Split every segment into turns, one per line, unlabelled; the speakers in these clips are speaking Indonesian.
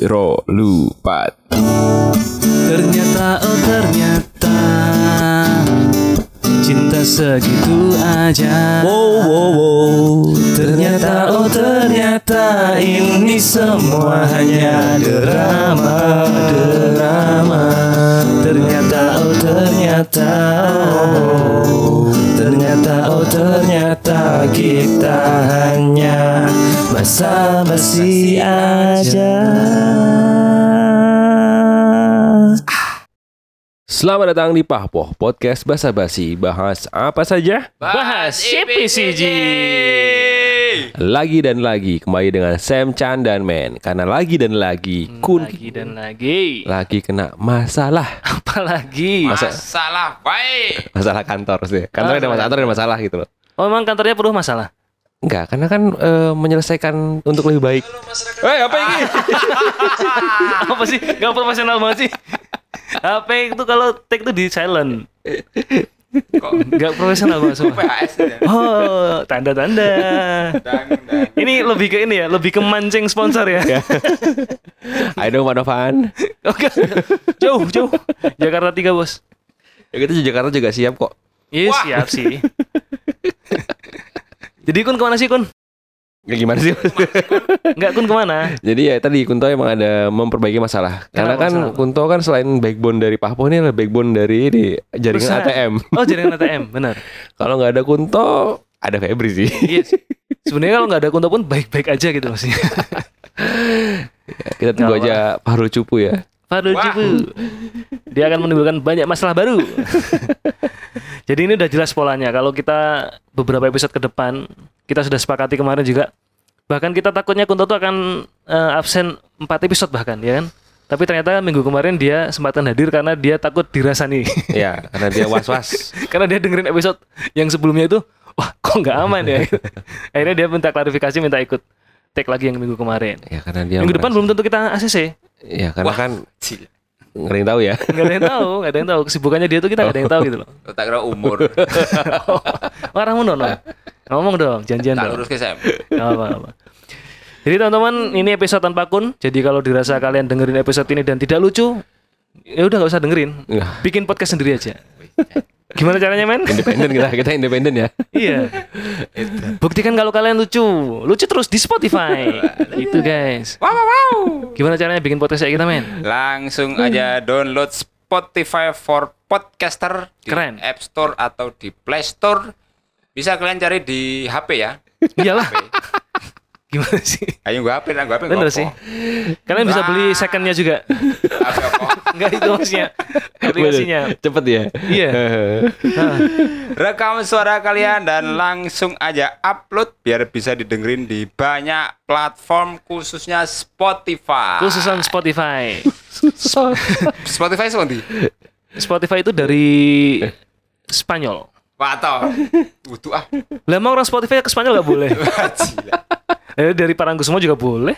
Jiro lupa.
Ternyata oh ternyata Cinta segitu aja Wow wow wow Ternyata oh ternyata Ini semua hanya drama Drama Ternyata oh ternyata oh, Ternyata oh ternyata Kita hanya Basa-basi aja
Selamat datang di Pahpoh Podcast Basa Basi Bahas apa saja?
Bahas CPCG.
Lagi dan lagi kembali dengan Sam Chan dan Men Karena lagi dan lagi Kun
Lagi dan lagi.
lagi kena masalah
Apalagi.
Masa-
Masalah baik.
Masalah kantor sih Kantor ada masalah, kantor ada masalah gitu loh
Oh, emang kantornya perlu masalah.
Enggak, karena kan eh, menyelesaikan untuk lebih baik Eh apa ini?
Apa sih? Gak profesional banget sih. HP itu kalau take itu di silent.
Kok
Gak profesional banget semua.
PHS ya?
Oh, tanda-tanda.
Dang, dang.
Ini lebih ke ini ya, lebih ke mancing sponsor ya.
I know what fun
Oke. Jauh, jauh. Jakarta 3, Bos.
Ya kita di Jakarta juga siap kok
Iya,
Wah.
siap sih. Jadi Kun kemana sih Kun?
Ya gimana sih?
Enggak Kun kemana?
Jadi ya tadi Kunto emang ada memperbaiki masalah. Karena
Kenapa
kan
masalah apa?
Kunto kan selain backbone dari Pahpo ini adalah backbone dari ini, jaringan
Perusahaan.
ATM.
Oh, jaringan ATM, benar.
Kalau nggak ada Kunto, ada Febri sih.
Iya sih. Sebenarnya kalau nggak ada Kunto pun baik-baik aja gitu maksudnya.
Kita tunggu
Nggak
aja Paru Cupu ya.
Fadul
Wah.
Cipu. Dia akan menimbulkan banyak masalah baru. Jadi ini udah jelas polanya. Kalau kita beberapa episode ke depan, kita sudah sepakati kemarin juga. Bahkan kita takutnya Kunto tuh akan eh, absen 4 episode bahkan, ya kan? Tapi ternyata minggu kemarin dia sempatkan hadir karena dia takut dirasani.
ya, karena dia was-was.
karena dia dengerin episode yang sebelumnya itu, wah kok nggak aman ya? Akhirnya dia minta klarifikasi, minta ikut take lagi yang minggu kemarin.
ya, karena dia
Iya,
Minggu depan
merasa-
belum tentu kita ACC.
Ya, karena
Wah.
kan
Cil.
ngeri tahu ya.
Gak ada yang tahu, gak ada yang tahu. Kesibukannya dia tuh kita gak ada yang tahu gitu loh.
Tak kira umur.
Orang mau nono. Ngomong dong, janjian
tak
dong.
lurus ke Sam.
Gak apa, apa. Jadi teman-teman, ini episode tanpa kun. Jadi kalau dirasa kalian dengerin episode ini dan tidak lucu, ya udah nggak usah dengerin.
Iya.
Nah,
Bikin podcast sendiri aja. Gimana caranya, men?
independen kita, kita independen ya.
iya. Buktikan kalau kalian lucu. Lucu terus di Spotify. Itu, guys.
Wow, wow, wow.
Gimana caranya bikin podcast kayak kita, men?
Langsung aja download Spotify for Podcaster di
Keren.
App Store atau di Play Store. Bisa kalian cari di HP ya.
Iyalah.
HP.
Gimana sih?
Ayo gua HP, nah gua HP.
Bener sih. Kalian bisa beli secondnya juga. Enggak itu maksudnya aplikasinya.
Bener. Cepet ya.
Iya. Nah,
Rekam suara kalian dan langsung aja upload biar bisa didengerin di banyak platform khususnya Spotify.
khususan Spotify.
Susah.
Spotify seperti
Spotify itu dari Spanyol.
Wato. Butuh ah.
Lah emang orang Spotify ke Spanyol nggak boleh?
Gila.
Eh, dari Parangkusumo juga boleh.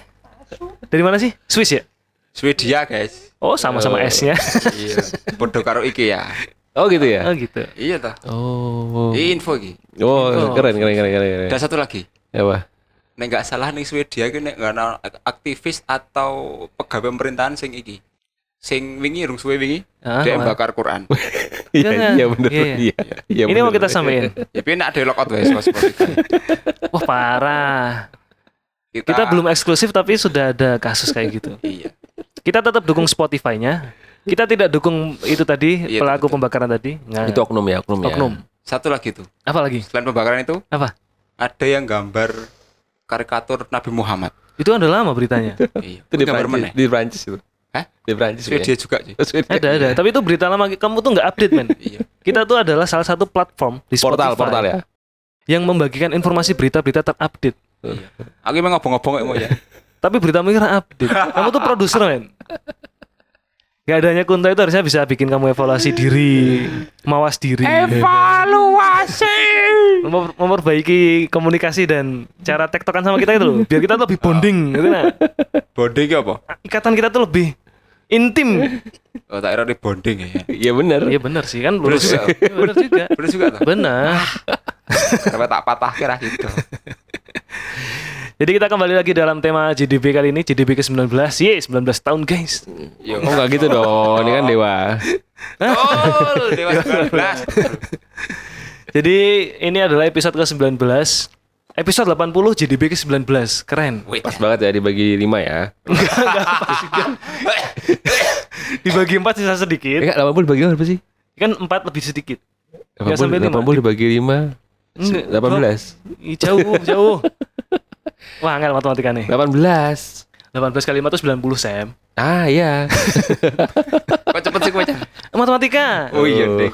Dari mana sih? Swiss ya?
Swedia guys.
Oh sama-sama
Eh.
S-nya.
Iya. Bodoh karo iki ya.
Oh gitu
oh
ya.
gitu.
Iya toh.
Oh.
Info iki.
Oh, keren keren keren keren. keren.
Dan satu lagi.
Apa?
Nek nggak salah nih Swedia iki nek nggak ana aktivis atau pegawai pemerintahan sing iki. Sing wingi rung suwe wingi.
Ah,
dia
apa?
bakar Quran.
Iya,
Jangan.
iya bener.
Iya, iya.
Iya. iya,
Ini mau
bener.
kita sampein.
Ya piye nek ada lock out wae sama Spotify.
Wah parah. Kita belum eksklusif tapi sudah ada kasus kayak gitu.
Iya.
Kita tetap dukung Spotify-nya. Kita tidak dukung itu tadi
Iya,
pelaku pembakaran tadi. Nggak.
Itu oknum ya, oknum, ya.
oknum.
Satu lagi tuh.
Apa lagi?
Selain pembakaran itu
Apa?
ada yang gambar karikatur Nabi Muhammad.
Itu kan udah lama beritanya.
Iya.
Itu di
gambar
Prancis,
ya?
meneh.
di Prancis itu.
Hah?
Di Prancis.
Swedia juga sih.
ya. Swedia.
ada ada. Tapi itu berita lama. Kamu tuh nggak update men.
Iya.
Kita tuh adalah salah satu platform di
Portal,
Spotify
portal ya.
yang membagikan informasi berita-berita terupdate.
Aku emang ngobong-ngobong mau ya.
Tapi beritamu ini nggak update. Kamu tuh produser men. Gak adanya Kunto itu harusnya bisa bikin kamu evaluasi diri, mawas diri,
Evaluasi.
memper- memperbaiki komunikasi dan cara tektokan sama kita itu loh. Biar kita tuh lebih bonding, gitu nah.
Bonding ki apa?
Ikatan kita tuh lebih intim.
Oh, tak kira ini bonding ya.
Iya benar.
Iya bener sih kan, bener
Terus-
juga. Bener juga.
Bener juga tuh.
Bener.
Sampai tak patah kira gitu.
Jadi kita kembali lagi dalam tema GDB kali ini, GDB ke-19. Yeay, 19 tahun guys.
Yo.
Oh nggak gitu dong, ini kan dewa.
Betul, Dewa 19.
Jadi ini adalah episode ke-19. Episode 80 GDB ke-19. Keren.
Wait.
Pas banget ya dibagi lima ya.
Dibagi 4 sisa sedikit.
Iya.
Eh, 80 dibagi berapa sih?
Kan 4 lebih sedikit. Nggak
80,
sampai lima.
80 dibagi 5
Enggak,
18
Ih, Jauh, jauh. Wah, angel matematika nih.
18
18 kali 5 itu 90, Sam.
Ah iya
Kok cepet sih baca?
Eh, Matematika.
Oh iya deh.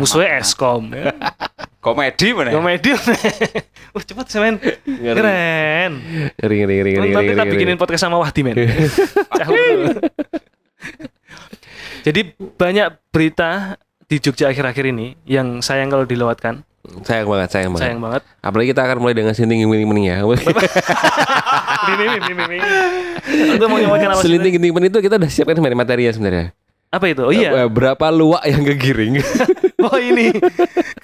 Musuhnya Eskom.
Komedi mana? ya?
Komedi. Wah, cepet, Sam. men. Keren.
Ngeri ngeri ngeri ngeri
Nanti
ngeri
kita
ngeri,
bikinin
ngeri.
podcast sama Wahdi, men. Jauh. Jadi banyak berita di Jogja akhir-akhir ini yang sayang kalau dilewatkan.
Sayang banget sayang banget
Sayang banget.
Apalagi kita akan mulai dengan sinting gini meni ya
Ah. Mimi, mimi, mimi. Lu mau nyebutkan apa sih?
Selinting gini meni itu kita udah siapkan sebenarnya materi ya sebenarnya
Apa itu? Oh iya.
Eh, Berapa luak yang kegiring
Oh ini.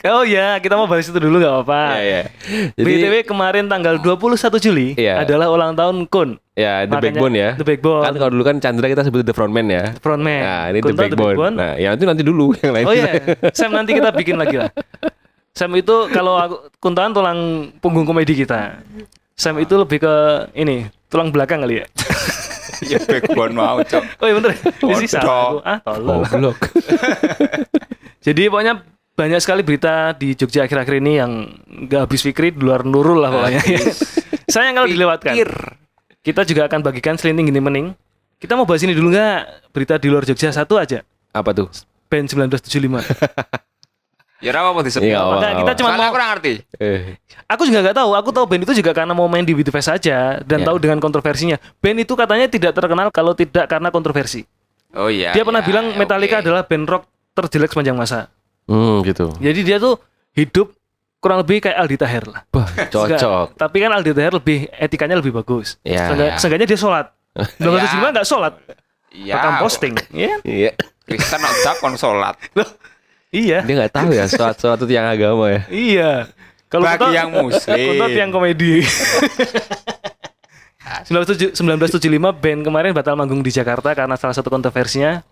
Oh ya, kita mau bahas itu dulu nggak
Iya
apa-apa.
iya
BTW kemarin tanggal 21 Juli
Iya.
adalah ulang tahun Kun.
Ya, The
Makanya-
Backbone ya.
The Backbone.
Kan kalau dulu kan Chandra kita sebut The Frontman ya.
Frontman.
Nah, ini
Kun
The
tau
Backbone. Nah, yang itu nanti dulu yang lain.
Oh iya, Sam nanti kita bikin lagi lah. Sam itu kalau aku kuntaan tulang punggung komedi kita. Sam itu lebih ke ini tulang belakang kali ya.
Ya backbone mau, Cok.
Oh iya bener, di sisa aku.
Bodoh.
Ah, tolol.
Goblok.
Jadi pokoknya banyak sekali berita di Jogja akhir-akhir ini yang nggak habis pikir di luar nurul lah pokoknya. Saya kalau dilewatkan. Kita juga akan bagikan selinting gini mening. Kita mau bahas ini dulu nggak berita di luar Jogja satu aja.
Apa tuh?
Band 1975.
Ya ora apa disebut.
Iya, apa-apa.
Maka kita cuma
Soalnya
mau
aku kurang ngerti.
Eh,
Aku juga nggak tahu. Aku tahu band itu juga karena mau main di Beauty Fest aja dan
Ya.
tahu dengan kontroversinya. Band itu katanya tidak terkenal kalau tidak karena kontroversi.
Oh iya.
Ya,
Dia pernah
iya,
bilang
oke.
Metallica adalah band rock terjelek sepanjang masa.
hmm, gitu.
Jadi dia tuh hidup kurang lebih kayak Aldi Taher lah.
Bah, cocok.
Nggak- tapi kan Aldi Taher lebih etikanya lebih bagus.
Ya. Ya,
Seenggak- Seenggaknya dia sholat. Belum
Ya.
gimana nggak sholat?
Iya.
Rekam posting. Iya.
Iya.
Kristen no dak kon sholat.
Loh, Iya.
Dia nggak tahu ya sholat sholat itu yang agama ya.
Iya. Kalau
Bagi
Kunto-
yang muslim.
Kunto yang komedi. 1977 1975 band kemarin batal manggung di Jakarta karena salah satu kontroversinya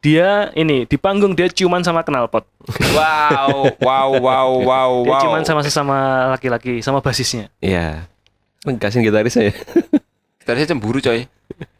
dia ini di panggung dia ciuman sama knalpot.
Wow, wow, wow, wow,
Dia
wow.
ciuman sama sesama laki-laki, sama basisnya.
Iya. Nengkasin gitarisnya ya.
Tadi saya cemburu, coy.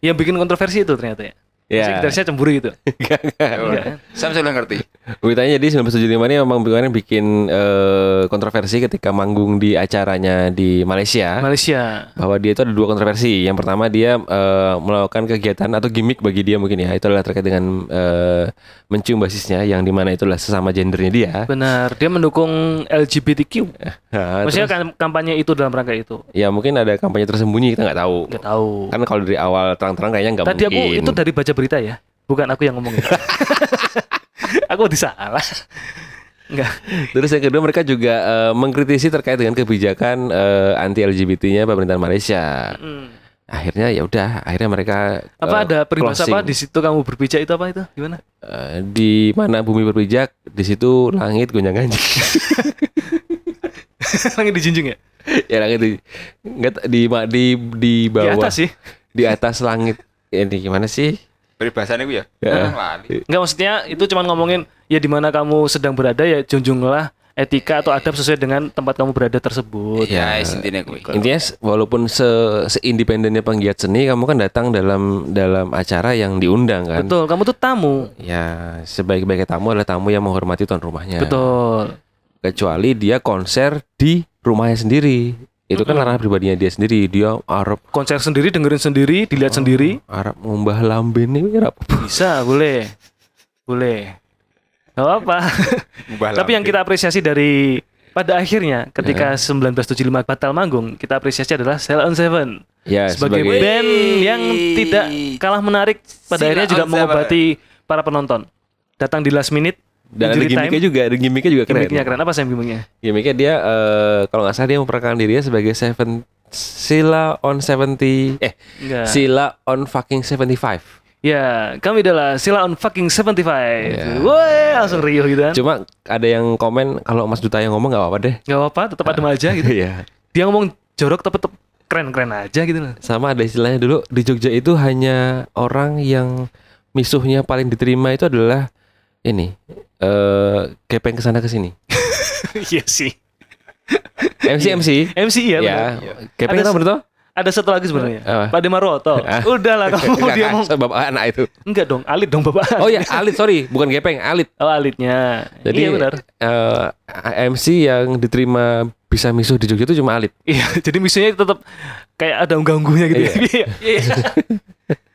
Yang bikin kontroversi itu ternyata ya.
Iya.
Yeah. Gitarisnya cemburu gitu.
Nggak, nggak.
Iya.
Saya sudah ngerti.
Beritanya jadi 1975 ini memang kemarin bikin eh, kontroversi ketika manggung di acaranya di Malaysia.
Malaysia.
bahwa dia itu ada dua kontroversi. Yang pertama dia eh, melakukan kegiatan atau gimmick bagi dia mungkin ya itu adalah terkait dengan eh, mencium basisnya yang dimana itu adalah sesama gendernya dia.
Benar, dia mendukung LGBTQ.
Ya,
Nah,
Maksudnya
terus-
kam- kampanye itu dalam rangka itu.
ya mungkin ada kampanye tersembunyi kita nggak tahu.
Nggak tahu.
Kan kalau dari awal terang-terang kayaknya nggak
Tadi
mungkin.
aku itu dari baca berita ya, bukan aku yang ngomong. itu. aku disalah. Enggak.
Terus yang kedua mereka juga eh, mengkritisi terkait dengan kebijakan eh, anti LGBT-nya pemerintahan Malaysia. Akhirnya ya udah, akhirnya mereka
Apa
eh,
ada peribahasa apa
closing.
di situ kamu berpijak itu apa itu? Gimana?
Eh, di mana bumi berpijak, di situ langit gonjang-ganjing.
Langit dijunjung ya?
ya langit di nggak ta- di ma- di di
Di
bawah
atas sih.
di atas langit Ya, ini gimana sih
Peribahasanya gue ya.
Iya.
Heeh.
Orang lali.
Enggak maksudnya itu cuman ngomongin ya di mana kamu sedang berada ya junjunglah etika atau adab sesuai dengan tempat kamu berada tersebut.
Iya.
Ya, intinya gue.
intinya se- walaupun se seindependennya penggiat seni kamu kan datang dalam dalam acara yang diundang kan
Betul, kamu tuh tamu.
ya sebaik-baiknya tamu adalah tamu yang menghormati tuan rumahnya
Betul.
kecuali dia konser di rumahnya sendiri itu kan larangan pribadinya dia sendiri dia Arab
Konser sendiri, dengerin sendiri,
Oh.
dilihat sendiri,
Arab ngumbah lambene ini
bisa, boleh. Boleh. Gak apa-apa.
Ngubah
Tapi yang
lambing.
kita apresiasi dari pada akhirnya ketika 1975 batal manggung, kita apresiasi adalah Cell on Seven
ya
sebagai,
sebagai,
band yang tidak kalah menarik. Pada
Sheila
akhirnya juga
on Seven.
mengobati para penonton. Datang di last minute,
dan ada
injury
gimmicknya juga ada gimmicknya juga keren
Gimmicknya keren apa sih gimmicknya?
Gimiknya dia eh, kalau nggak salah dia memperkenalkan dirinya sebagai Seven Sila on 70 eh
Enggak.
Sila on fucking 75.
Ya, kami adalah Sila on fucking 75.
Ya.
Woi, langsung riuh gitu kan.
Cuma ada yang komen kalau Mas Duta yang ngomong nggak apa-apa deh.
Gak apa-apa, tetap adem aja Iya, gitu.
Iya.
Dia ngomong jorok tetap keren-keren aja gitu loh.
Sama ada istilahnya dulu di Jogja itu hanya orang yang misuhnya paling diterima itu adalah ini eh gepeng kesana kesini.
Iya sih.
MC MC.
MC ya,
ya,
benar.
gepeng
Ada
tau
se-
bener tau?
Ada satu lagi sebenarnya.
Apa?
Pak Demaroto.
Ah.
Udahlah kamu
Enggak,
Oh, dia
kan,
mau.
bapak anak itu.
Enggak dong, alit dong Bapak.
Oh ya, Alit sorry, bukan gepeng, Alit.
Oh, alitnya.
Jadi
iya benar.
eh, MC yang diterima bisa misuh di Jogja itu cuma Alit.
Iya, jadi misinya tetap kayak ada unggah-ungguhnya gitu. ya. Iya. Iya.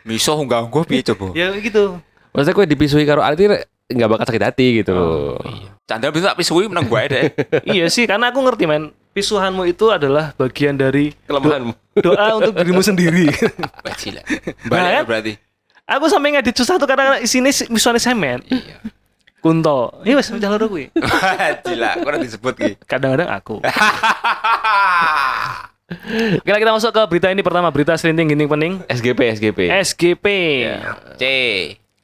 Miso nggak gue piye coba.
Ya gitu.
Maksudnya gue dipisuhi karo Alit ini nggak bakal sakit hati gitu
Oh,
loh.
Candel bisa tak pisui menang gue deh.
iya sih, karena aku ngerti men. Pisuhanmu itu adalah bagian dari
Kelemahanmu.
doa untuk dirimu sendiri. Nah,
Gila. Balik
kan?
berarti.
aku sampai ngedit susah tuh karena isine si- pisuhane semen.
Iya.
Kunto. Iya wes jalur kuwi.
Gila, kurang disebut ki.
Kadang-kadang aku. Oke, lah, kita masuk ke berita ini pertama, berita selinting gini pening.
SGP SGP.
SGP.
C.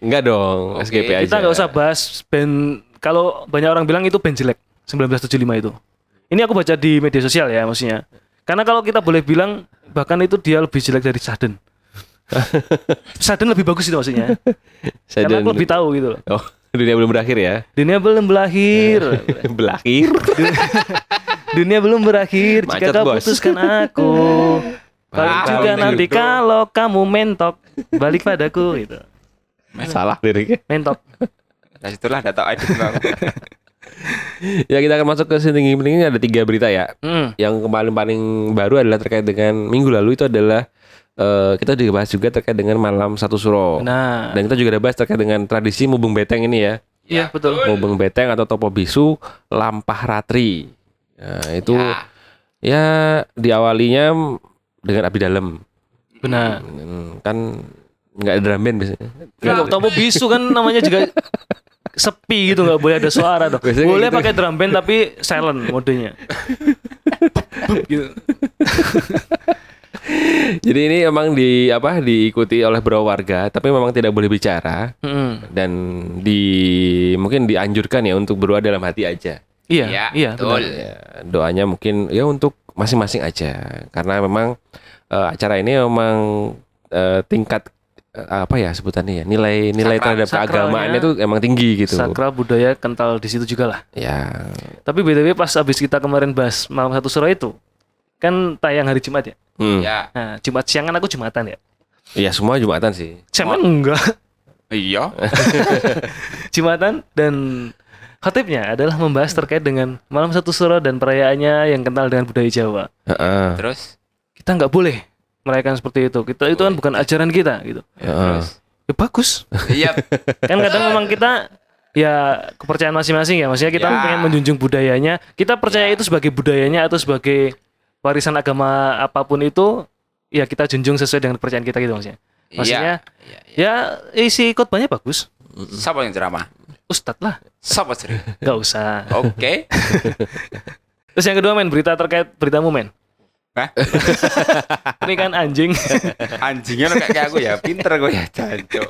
Enggak dong,
Oke,
SGP aja.
Kita nggak usah bahas band kalau banyak orang bilang itu band jelek 1975 itu. Ini aku baca di media sosial ya maksudnya. Karena kalau kita boleh bilang bahkan itu dia lebih jelek dari Sudden. Sudden lebih bagus itu maksudnya.
Saya
Karena
dan-
aku lebih tahu gitu loh.
Oh, dunia belum berakhir ya.
Dunia belum berakhir.
Iya. berakhir.
Dunia belum berakhir jika
Macet,
kau
Bos.
putuskan aku. Paling
Ah,
juga
ini
nanti
gitu.
kalau kamu mentok balik padaku gitu.
Salah liriknya.
Mentok.
Nah situlah data edit bang.
Ya kita akan masuk ke sini ini ada tiga berita ya.
Hmm.
Yang kemarin paling baru adalah terkait dengan minggu lalu itu adalah eh, kita juga bahas juga terkait dengan malam satu suro.
Nah,
Dan kita juga ada bahas terkait dengan tradisi mubeng beteng ini ya.
iya betul.
Mubeng beteng atau topo bisu lampah ratri. Nah, itu ya, diawalinya dengan abdi dalam.
Benar.
Hmm, Kan nggak ada drum band biasanya.
Nah,
Nggak-
topo bisu kan namanya juga sepi gitu nggak boleh ada suara dong.
Biasanya
boleh
gitu.
pakai drum band tapi silent modenya. gitu.
Jadi ini memang di apa diikuti oleh beberapa warga, tapi memang tidak boleh bicara
Mm-mm.
dan di mungkin dianjurkan ya untuk berdoa dalam hati aja.
Iya,
Ya,
iya,
betul.
benar.
Ya, doanya mungkin ya untuk masing-masing aja, karena memang eh, acara ini memang eh, tingkat eh, apa ya sebutannya ya nilai nilai
Sakral-
terhadap
sakralnya-
keagamaannya itu emang tinggi gitu.
Sakral budaya kental di situ juga lah.
Ya
Tapi btw pas abis kita kemarin bahas malam satu suro itu kan tayang hari Jumat ya.
hmm. ya.
Ya.
Nah, Jumat siang kan aku Jumatan ya.
semua jumatan sih.
Cuman enggak.
Iya.
Jumatan dan khotibnya adalah membahas terkait dengan malam satu suro dan perayaannya yang kental dengan budaya Jawa.
Heeh,
Terus.
kita nggak boleh merayakan seperti itu. Kita itu kan bukan ajaran kita gitu.
heeh.
Ya bagus.
Iya.
Kan kadang memang kita ya kepercayaan masing-masing ya. Maksudnya kita
Ya.
pengen menjunjung budayanya. Kita percaya itu sebagai budayanya atau sebagai warisan agama apapun itu ya kita junjung sesuai dengan kepercayaan kita gitu maksudnya. Maksudnya
Iya. iya.
ya isi khotbahnya bagus.
Siapa yang ceramah?
Ustadz lah,
Siapa sering?
nggak usah.
Oke.
Terus yang kedua men berita terkait beritamu men.
Hah?
Ini kan anjing.
Anjingnya lo kayak kayak aku ya, pinter gue ya, jancok.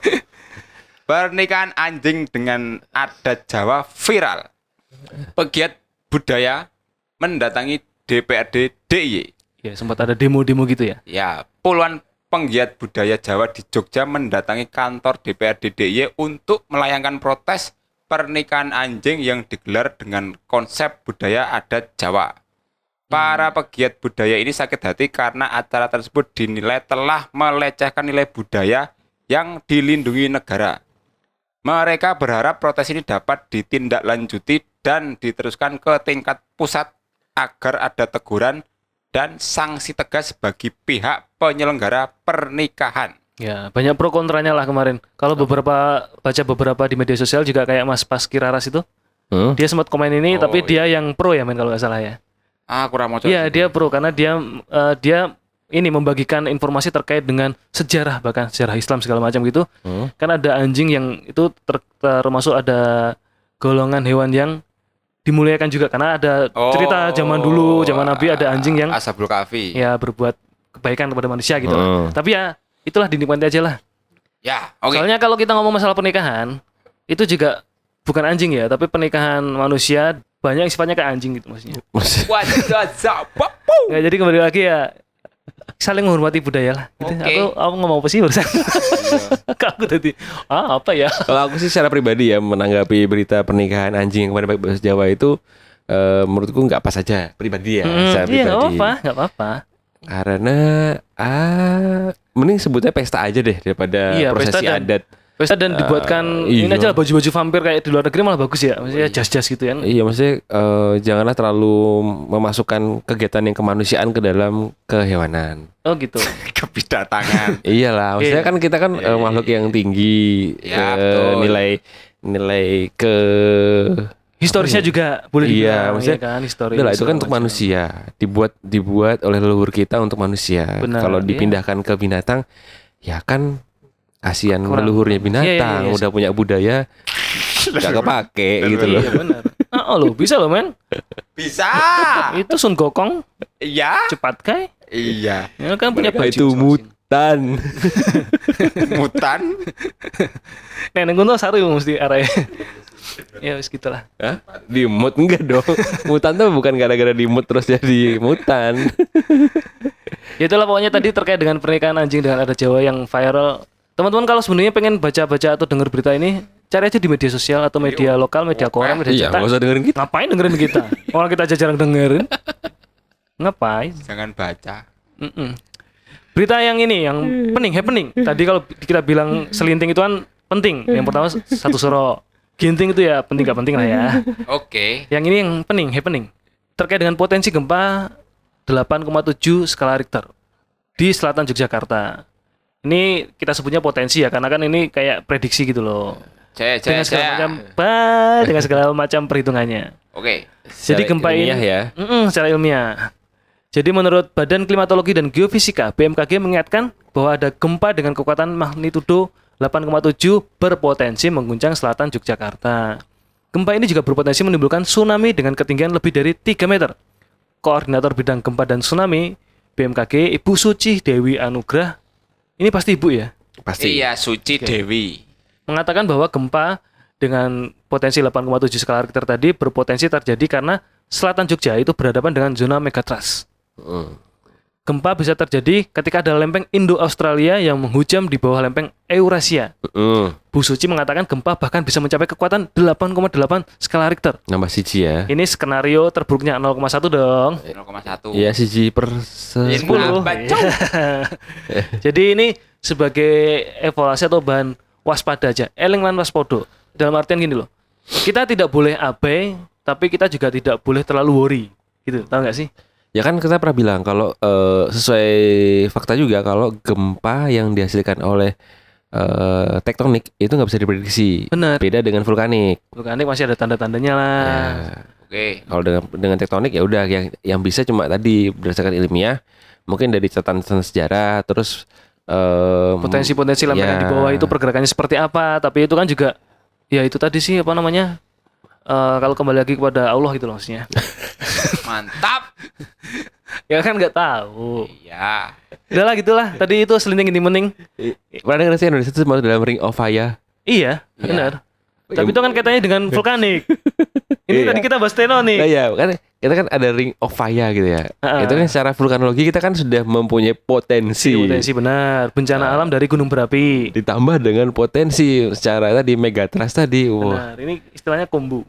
Pernikahan anjing dengan adat Jawa viral. Pegiat budaya mendatangi DPRD DIY.
ya sempat ada demo-demo gitu ya.
Ya, puluhan penggiat budaya Jawa di Jogja mendatangi kantor DPRD DIY untuk melayangkan protes pernikahan anjing yang digelar dengan konsep budaya adat Jawa. Para pegiat budaya ini sakit hati karena acara tersebut dinilai telah melecehkan nilai budaya yang dilindungi negara. Mereka berharap protes ini dapat ditindaklanjuti dan diteruskan ke tingkat pusat agar ada teguran dan sanksi tegas bagi pihak penyelenggara pernikahan.
Ya, banyak pro kontranya lah kemarin. Kalau beberapa baca beberapa di media sosial juga kayak Mas Paski Raras itu,
Hmm? iya.
dia sempat komen ini
Oh,
tapi dia yang pro ya men kalau nggak salah ya.
Ah, kurang mau
Iya, dia pro karena dia eh, dia ini membagikan informasi terkait dengan sejarah bahkan sejarah Islam segala macam gitu.
Hmm?
Kan ada anjing yang itu ter- termasuk ada golongan hewan yang dimuliakan juga karena ada
Oh.
Oh.
cerita zaman dulu, zaman Nabi ada anjing yang
Asabul Kafi.
ya berbuat kebaikan kepada manusia gitu.
Hmm.
Tapi ya itulah dinikmati aja lah.
Ya, oke.
Soalnya kalau kita ngomong masalah pernikahan, itu juga bukan anjing ya, tapi pernikahan
Hmm?
manusia banyak yang sifatnya kayak anjing gitu maksudnya.
Wajah, zap, pop, pop.
Nggak, jadi kembali lagi ya saling menghormati budaya lah. Gitu.
Oke.
Aku, aku ngomong apa sih barusan?
Iya.
Kak, aku tadi, ah apa ya?
Kalau aku sih secara pribadi ya menanggapi berita pernikahan anjing yang kemarin pakai bahasa Jawa itu eh, menurutku nggak pas aja pribadi ya
Hmm,
secara
iya nggak
pribadi.
apa-apa, nggak apa-apa.
Karena ah mending sebutnya pesta aja deh daripada
Iya, pesta
prosesi
dan-
adat.
Pesta dan dibuatkan
Eh,
ini
iya.
aja lah, baju-baju vampir kayak di luar negeri malah bagus ya. Maksudnya jas-jas gitu kan.
Iya maksudnya eh, janganlah terlalu memasukkan kegiatan yang kemanusiaan ke dalam kehewanan.
Oh gitu.
kebidatangan
Iyalah, maksudnya
Iya.
kan kita kan eh, makhluk yang tinggi eh,
Ya, betul.
nilai nilai ke
Historisnya juga boleh
Iya,
dibilang,
maksudnya-
kan historis.
Udah lah, itu kan
segala
untuk
macam.
manusia, dibuat dibuat oleh leluhur kita untuk manusia.
Benar,
Kalau
iya.
dipindahkan ke binatang, ya kan kasihan
Kurang.
leluhurnya binatang,
Iya, iya, iya.
udah punya budaya nggak kepake gitu loh.
Iya benar. Ah, oh, loh, bisa loh men.
bisa
Ah.
Itu Sun Gokong
iya
cepat kai.
iya
Ya, kan punya
Mereka
baju.
itu mutan.
mutan
Neneng Kunto satu mesti arahnya. ya wis gitulah.
Hah? Di mut enggak dong. mutan tuh bukan gara-gara di mut terus jadi mutan.
Ya itulah pokoknya tadi terkait dengan pernikahan anjing dengan ada Jawa yang viral. Teman-teman kalau sebenarnya pengen baca-baca atau denger berita ini, cari aja di media sosial atau media lokal, media koran, media
iya,
cetak.
nggak usah dengerin kita.
Ngapain dengerin kita? Orang kita aja jarang dengerin. Ngapain?
jangan baca
Mm-mm. Berita yang ini yang pening, happening. Tadi kalau kita bilang selinting itu kan penting. Yang pertama satu suro. Ginting itu ya penting gak penting lah ya.
oke
Yang ini yang pening, happening. Terkait dengan potensi gempa 8,7 skala Richter di selatan Yogyakarta. Ini kita sebutnya potensi ya, karena kan ini kayak prediksi gitu loh.
saya
Dengan
saya
segala
saya
macam, bah, dengan segala macam perhitungannya.
oke
Jadi
Secara
gempa ini
ilmiah ya.
Mm-mm, secara ilmiah. Jadi menurut Badan Klimatologi dan Geofisika BMKG mengingatkan bahwa ada gempa dengan kekuatan magnitudo 8,7 berpotensi mengguncang selatan Yogyakarta. Gempa ini juga berpotensi menimbulkan tsunami dengan ketinggian lebih dari 3 meter. Koordinator Bidang Gempa dan Tsunami BMKG Ibu Suci Dewi Anugrah ini pasti Ibu ya
Pasti.
iya suci dewi
mengatakan bahwa gempa dengan potensi 8,7 skala Richter tadi berpotensi terjadi karena selatan Jogja itu berhadapan dengan zona megatrust.
Mm.
Gempa bisa terjadi ketika ada lempeng Indo-Australia yang menghujam di bawah lempeng Eurasia.
Mm.
Bu Suci mengatakan gempa bahkan bisa mencapai kekuatan 8,8 skala Richter.
Nambah siji ya.
Ini skenario terburuknya 0,1 dong.
0,1
Iya siji per se-
Ini apa, Cung?
Jadi ini sebagai evaluasi atau bahan waspada aja. Eling lan waspodo. Dalam artian gini loh. Kita tidak boleh abai, tapi kita juga tidak boleh terlalu worry. Gitu, tahu nggak sih?
Ya kan kita pernah bilang kalau eh, sesuai fakta juga kalau gempa yang dihasilkan oleh eh, tektonik itu nggak bisa diprediksi.
Benar. Nah.
Beda dengan vulkanik.
Vulkanik masih ada tanda-tandanya lah.
Ya,
oke
kalau dengan dengan tektonik ya udah yang yang bisa cuma tadi berdasarkan ilmiah mungkin dari catatan sejarah terus eh,
Potensi-potensi
ya.
lempengan di bawah itu pergerakannya seperti apa, tapi itu kan juga ya itu tadi sih apa namanya? Eh, kalau kembali lagi kepada Allah gitu loh maksudnya.
mantap
ya kan nggak tahu.
iya
Udahlah gitulah. Tadi itu selinting ini mening.
Eh, Pernah denger sih Indonesia itu semua dalam ring of fire.
Iya, benar. Tapi itu kan katanya dengan vulkanik.
Iya.
Ini tadi kita bahas
Nah,
Teno nih.
ya, kan kita kan ada ring of fire gitu ya.
Eh. Heeh.
Itu kan secara vulkanologi kita kan sudah mempunyai potensi.
Iya, Potensi benar, bencana
Iya.
alam dari gunung berapi.
ditambah dengan potensi secara tadi megatrust tadi. Wah.
Benar, ini istilahnya kombu.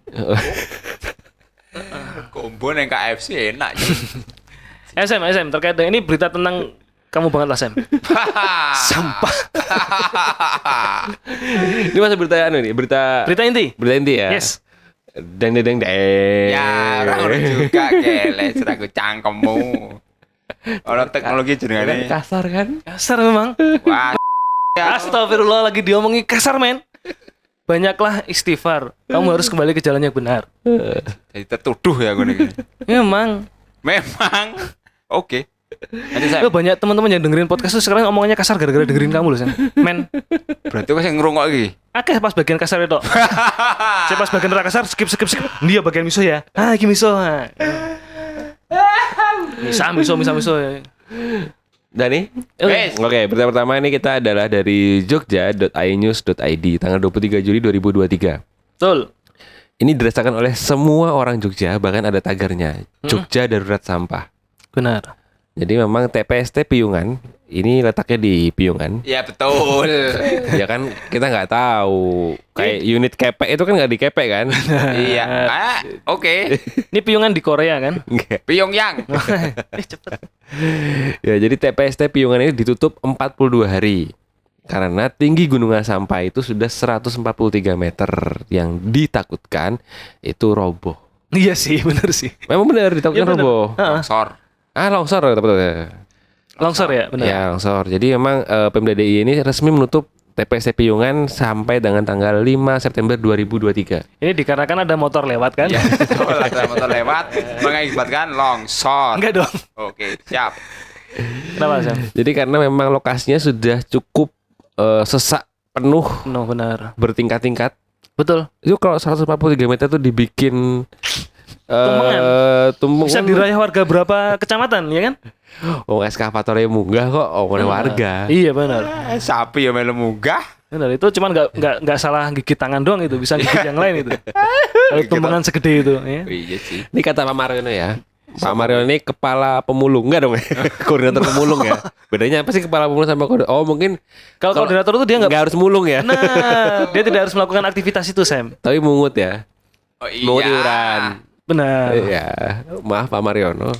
kombo yang KFC enak Cung.
SM, SM eh, terkait dengan ini berita tentang kamu banget lah Sam.
Iya.
Sampah.
Ini masih berita anu nih, berita
Berita inti.
berita inti ya.
Yes.
Deng deng deng deng.
ya orang
Eh.
juga kele seragu cangkemmu orang teknologi
Kan
jenengane
kasar kan?
Kasar memang.
wah
Iya.
ya,
Astagfirullah lagi diomongi kasar men. Banyaklah istighfar. Kamu harus kembali ke jalan yang benar.
jadi tertuduh ya gue nih
Memang.
memang oke nanti
Iya.
saya
Lo banyak teman-teman yang dengerin podcast tuh sekarang omongannya kasar gara-gara dengerin kamu loh Sam. Men.
berarti gue sing ngerungok iki
Akeh pas bagian kasar itu. Saya pas bagian rada kasar skip skip skip. Dia bagian miso ya. Ah, iki miso. ah. Misa miso miso miso. ya.
Dani?
Oke.
Oke, berita pertama ini kita adalah dari jogja.inews.id tanggal 23 Juli 2023.
Betul.
Ini dirasakan oleh semua orang Jogja, bahkan ada tagarnya. Jogja darurat sampah.
Benar.
Jadi memang TPST Piyungan ini letaknya di Piyungan.
Ya betul.
ya kan kita nggak tahu. Kayak
Iya.
unit kepek itu kan nggak di kepek kan?
iya. Ah, oke.
Ini piyungan di Korea kan?
Nggak.
Pyongyang.
Eh, cepet.
ya jadi TPST Piyungan ini ditutup 42 hari. Karena tinggi Gunung Asampah itu sudah 143 meter yang ditakutkan itu roboh.
Iya sih, bener sih.
Memang benar ditakutkan
Iya, benar.
roboh.
Ha-ha.
Sor.
Ah longsor betul-betul.
Longsor ya, bener.
Ya longsor. Jadi memang eh, Pemda DIY ini resmi menutup TPS Piyungan sampai dengan tanggal 5 September 2023.
Ini dikarenakan ada motor lewat kan?
Ya, betul. Ada motor lewat mengakibatkan longsor.
Enggak dong.
Oke, siap.
Kenapa Sam?
Jadi karena memang lokasinya sudah cukup eh, sesak penuh
No, benar.
bertingkat-tingkat.
Betul.
Itu kalau 143 meter tuh dibikin
Tumpengan.
eh tumbung
Bisa dirayah warga berapa kecamatan, ya kan?
Oh eskavatornya munggah kok oh oleh warga.
Iya, benar.
Eh, Sapi ya melu munggah.
Benar, itu cuman nggak nggak nggak salah gigit tangan doang itu, bisa gigit yang lain itu. Kalau tumpengan segede itu, ya.
Iya sih.
Ini kata Pak Mariono ya. Pak Mariono ini kepala pemulung enggak dong ya? Koordinator pemulung ya. Bedanya apa sih kepala pemulung sama koordinator? Oh mungkin
Kalau
Kalau-
koordinator itu dia nggak
nggak harus mulung ya.
Nah, dia tidak harus melakukan aktivitas itu, Sam.
Tapi mungut ya.
Oh, iya.
Mungut iuran.
Benar.
Iya. Maaf Pak Mariono.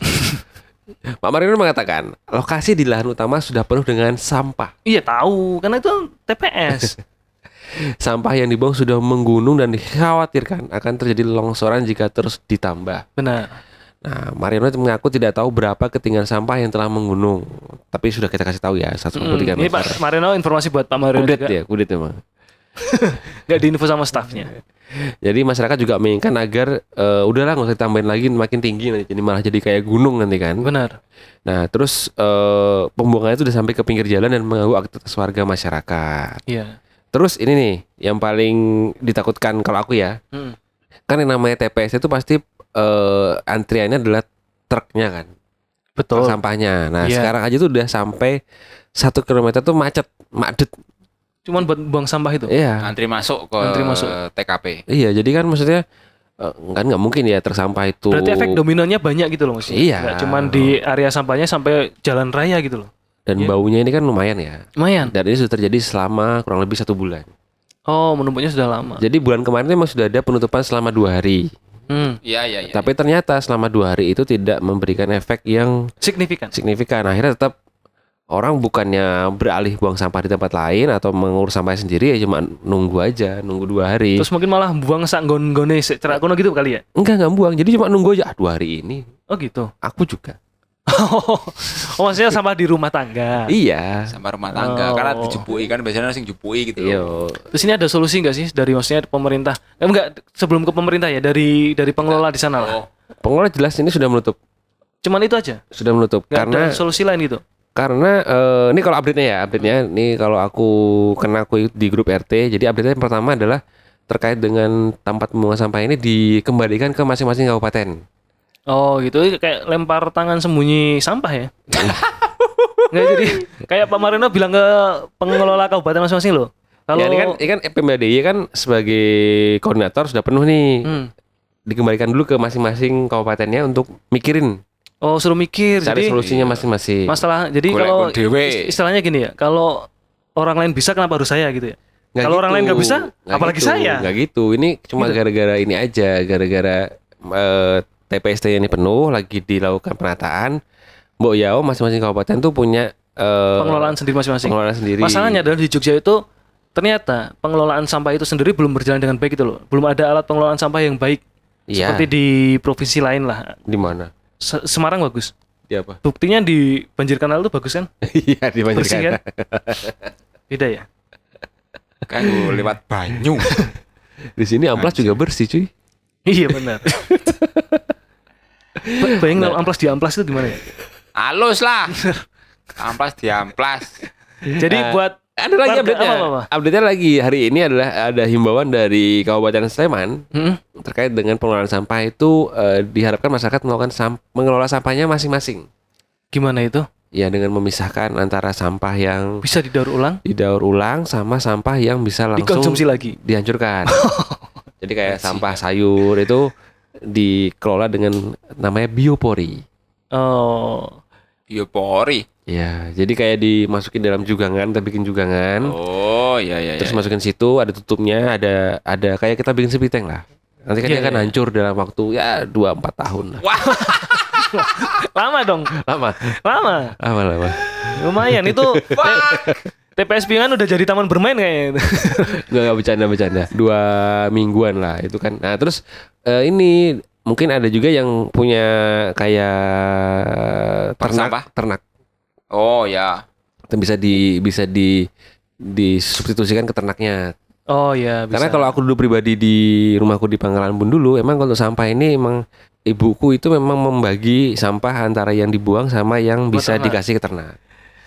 Pak Mariono mengatakan, lokasi di lahan utama sudah penuh dengan sampah.
Iya, tahu. Karena itu TPS.
Sampah yang dibuang sudah menggunung dan dikhawatirkan akan terjadi longsoran jika terus ditambah.
Benar.
Nah, Mariono mengaku tidak tahu berapa ketinggian sampah yang telah menggunung. Tapi sudah kita kasih tahu ya, 143
Mm, ini
meter.
Pak Marino informasi buat Pak Marino
Kudet
juga.
ya, kudet memang.
Nggak diinfo sama stafnya.
Jadi masyarakat juga menginginkan agar eh, udahlah nggak usah ditambahin lagi makin tinggi nanti jadi malah jadi kayak gunung nanti kan.
Benar.
Nah, terus eh, pembuangannya itu udah sampai ke pinggir jalan dan mengganggu aktivitas warga masyarakat.
Iya.
Terus ini nih yang paling ditakutkan kalau aku ya,
Mm.
kan yang namanya TPS itu pasti eh, antriannya adalah truknya kan, truk
Betul.
sampahnya. Nah,
Iya.
sekarang aja tuh udah sampai satu kilometer tuh macet, madet.
Cuman buat buang sampah itu.
Iya,
Antri masuk ke
Antri masuk.
TKP.
iya. Jadi kan maksudnya eh, kan nggak mungkin ya truk sampah itu.
Berarti efek dominonya banyak gitu loh maksudnya.
Iya.
Nggak cuman di area sampahnya sampai jalan raya gitu loh.
dan
Iya.
baunya ini kan lumayan ya.
Lumayan.
Dan ini sudah terjadi selama kurang lebih satu bulan.
Oh, menumpuknya sudah lama.
Jadi bulan kemarin memang sudah ada penutupan selama dua hari.
Hmm.
Iya, iya, iya.
Tapi ternyata selama dua hari itu tidak memberikan efek yang
Signifikan.
signifikan. Akhirnya tetap orang bukannya beralih buang sampah di tempat lain atau mengurus sampah sendiri ya cuma nunggu aja, nunggu dua hari.
Terus mungkin malah buang sak gon-gone sik cerak kono gitu kali ya.
enggak enggak buang, jadi cuma nunggu aja. Ah, dua hari ini
Oh gitu.
aku juga.
oh, maksudnya sampah di rumah tangga.
Iya.
sama rumah tangga
Oh.
karena dijupui kan biasanya sing jupui gitu
Iya.
loh.
Yo.
Terus ini ada solusi nggak sih dari maksudnya pemerintah? Eh, enggak, sebelum ke pemerintah ya dari dari pengelola di sana lah.
Oh,
Pengelola jelas ini sudah menutup,
Cuman itu aja.
sudah menutup
Nggak
karena
ada solusi lain gitu.
Karena eh, ini kalau update-nya ya, update-nya ini kalau aku kena aku ikut di grup RT. Jadi update-nya yang pertama adalah terkait dengan tempat pembuangan sampah ini dikembalikan ke masing-masing kabupaten.
Oh gitu, kayak lempar tangan sembunyi sampah ya. Nggak jadi kayak Pak Marino bilang ke pengelola kabupaten masing-masing loh. Kalau
Ya, ini kan ini kan Pemda DIY kan sebagai koordinator sudah penuh nih.
Hmm.
Dikembalikan dulu ke masing-masing kabupatennya untuk mikirin
oh suruh mikir.
cari
jadi Iya.
solusinya masing-masing.
masalah jadi
Golek
kalau
kon dewe.
ist- istilahnya gini ya, kalau orang lain bisa kenapa harus saya gitu ya?
Nggak
kalau orang
gitu.
lain nggak bisa,
Nggak
apalagi
gitu,
saya.
Nggak gitu. Ini cuma
Gitu.
gara-gara ini aja, gara-gara eh, TPST ini penuh lagi dilakukan penataan. Mbok Yao masing-masing kabupaten tuh punya eh,
Pengelolaan sendiri masing-masing.
pengelolaan sendiri.
Masalahnya adalah di Jogja itu ternyata pengelolaan sampah itu sendiri belum berjalan dengan baik itu loh. Belum ada alat pengelolaan sampah yang baik.
Iya.
Seperti di provinsi lain lah.
di mana?
Se- Semarang bagus.
Di apa?
Buktinya di banjir kanal itu bagus kan?
Iya, di
Bersih kan?
Banjarkata.
Beda ya.
kan gua lewat banyu.
Di sini amplas juga bersih, cuy.
Iya benar. Ba- Bayangin kalau amplas di amplas itu gimana ya?
Halus lah. Amplas diamplas.
Jadi
Eh,
buat
Ada lagi
Warga-
update-nya.
apa, apa, apa?
Update-nya lagi hari ini adalah ada himbauan dari Kabupaten Sleman
Hmm?
terkait dengan pengelolaan sampah itu eh, diharapkan masyarakat melakukan sam- mengelola sampahnya masing-masing.
gimana itu?
Ya dengan memisahkan antara sampah yang
Bisa didaur ulang,
didaur ulang sama sampah yang bisa langsung
dikonsumsi lagi.
dihancurkan. Jadi kayak sampah sayur itu dikelola dengan namanya biopori.
Oh.
Yo Polri.
Ya, jadi kayak dimasukin dalam jugangan, kita bikin jugangan,
Oh, iya iya.
terus
iya.
masukin situ, ada tutupnya, ada ada kayak kita bikin sepiteng lah. Nanti kan
Iya,
dia akan
iya.
hancur dalam waktu ya 2 4 tahun lah.
Lama dong,
Lama,
lama.
lama lama.
Lumayan itu. TPS Pingan udah jadi taman bermain kayaknya.
Gak, gak bercanda bercanda. Dua mingguan lah itu kan. Nah terus eh, ini mungkin ada juga yang punya kayak
Bank
ternak
sampah?
ternak
Oh, ya.
Dan bisa di bisa di disubstitusikan ke ternaknya.
Oh iya, bisa.
Karena kalau aku dulu pribadi di rumahku di Pangkalan Bun dulu, emang kalau sampah ini emang ibuku itu memang membagi sampah antara yang dibuang sama yang
Buat
bisa
ternak.
dikasih ke ternak.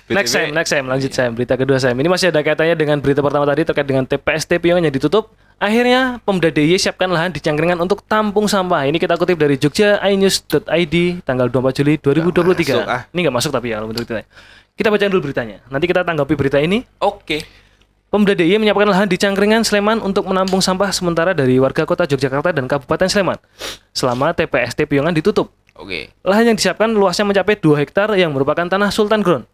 Next
BTW,
Sam, next Sam, lanjut Sam. Berita kedua Sam. Ini masih ada kaitannya dengan berita pertama tadi terkait dengan TPS Tpiong yang ditutup. Akhirnya Pemda DIY siapkan lahan di Cangkringan untuk tampung sampah. Ini kita kutip dari Jogja inews.id tanggal 24 Juli 2023.
Nggak masuk, ah.
Ini nggak masuk tapi ya kalau menurut kita. Kita bacain dulu beritanya. Nanti kita tanggapi berita ini.
Oke.
Pemda DIY menyiapkan lahan di Cangkringan, Sleman untuk menampung sampah sementara dari warga kota Yogyakarta dan Kabupaten Sleman selama TPS Tpiongan ditutup.
Oke.
Lahan yang disiapkan luasnya mencapai 2 hektar yang merupakan tanah Sultan Ground.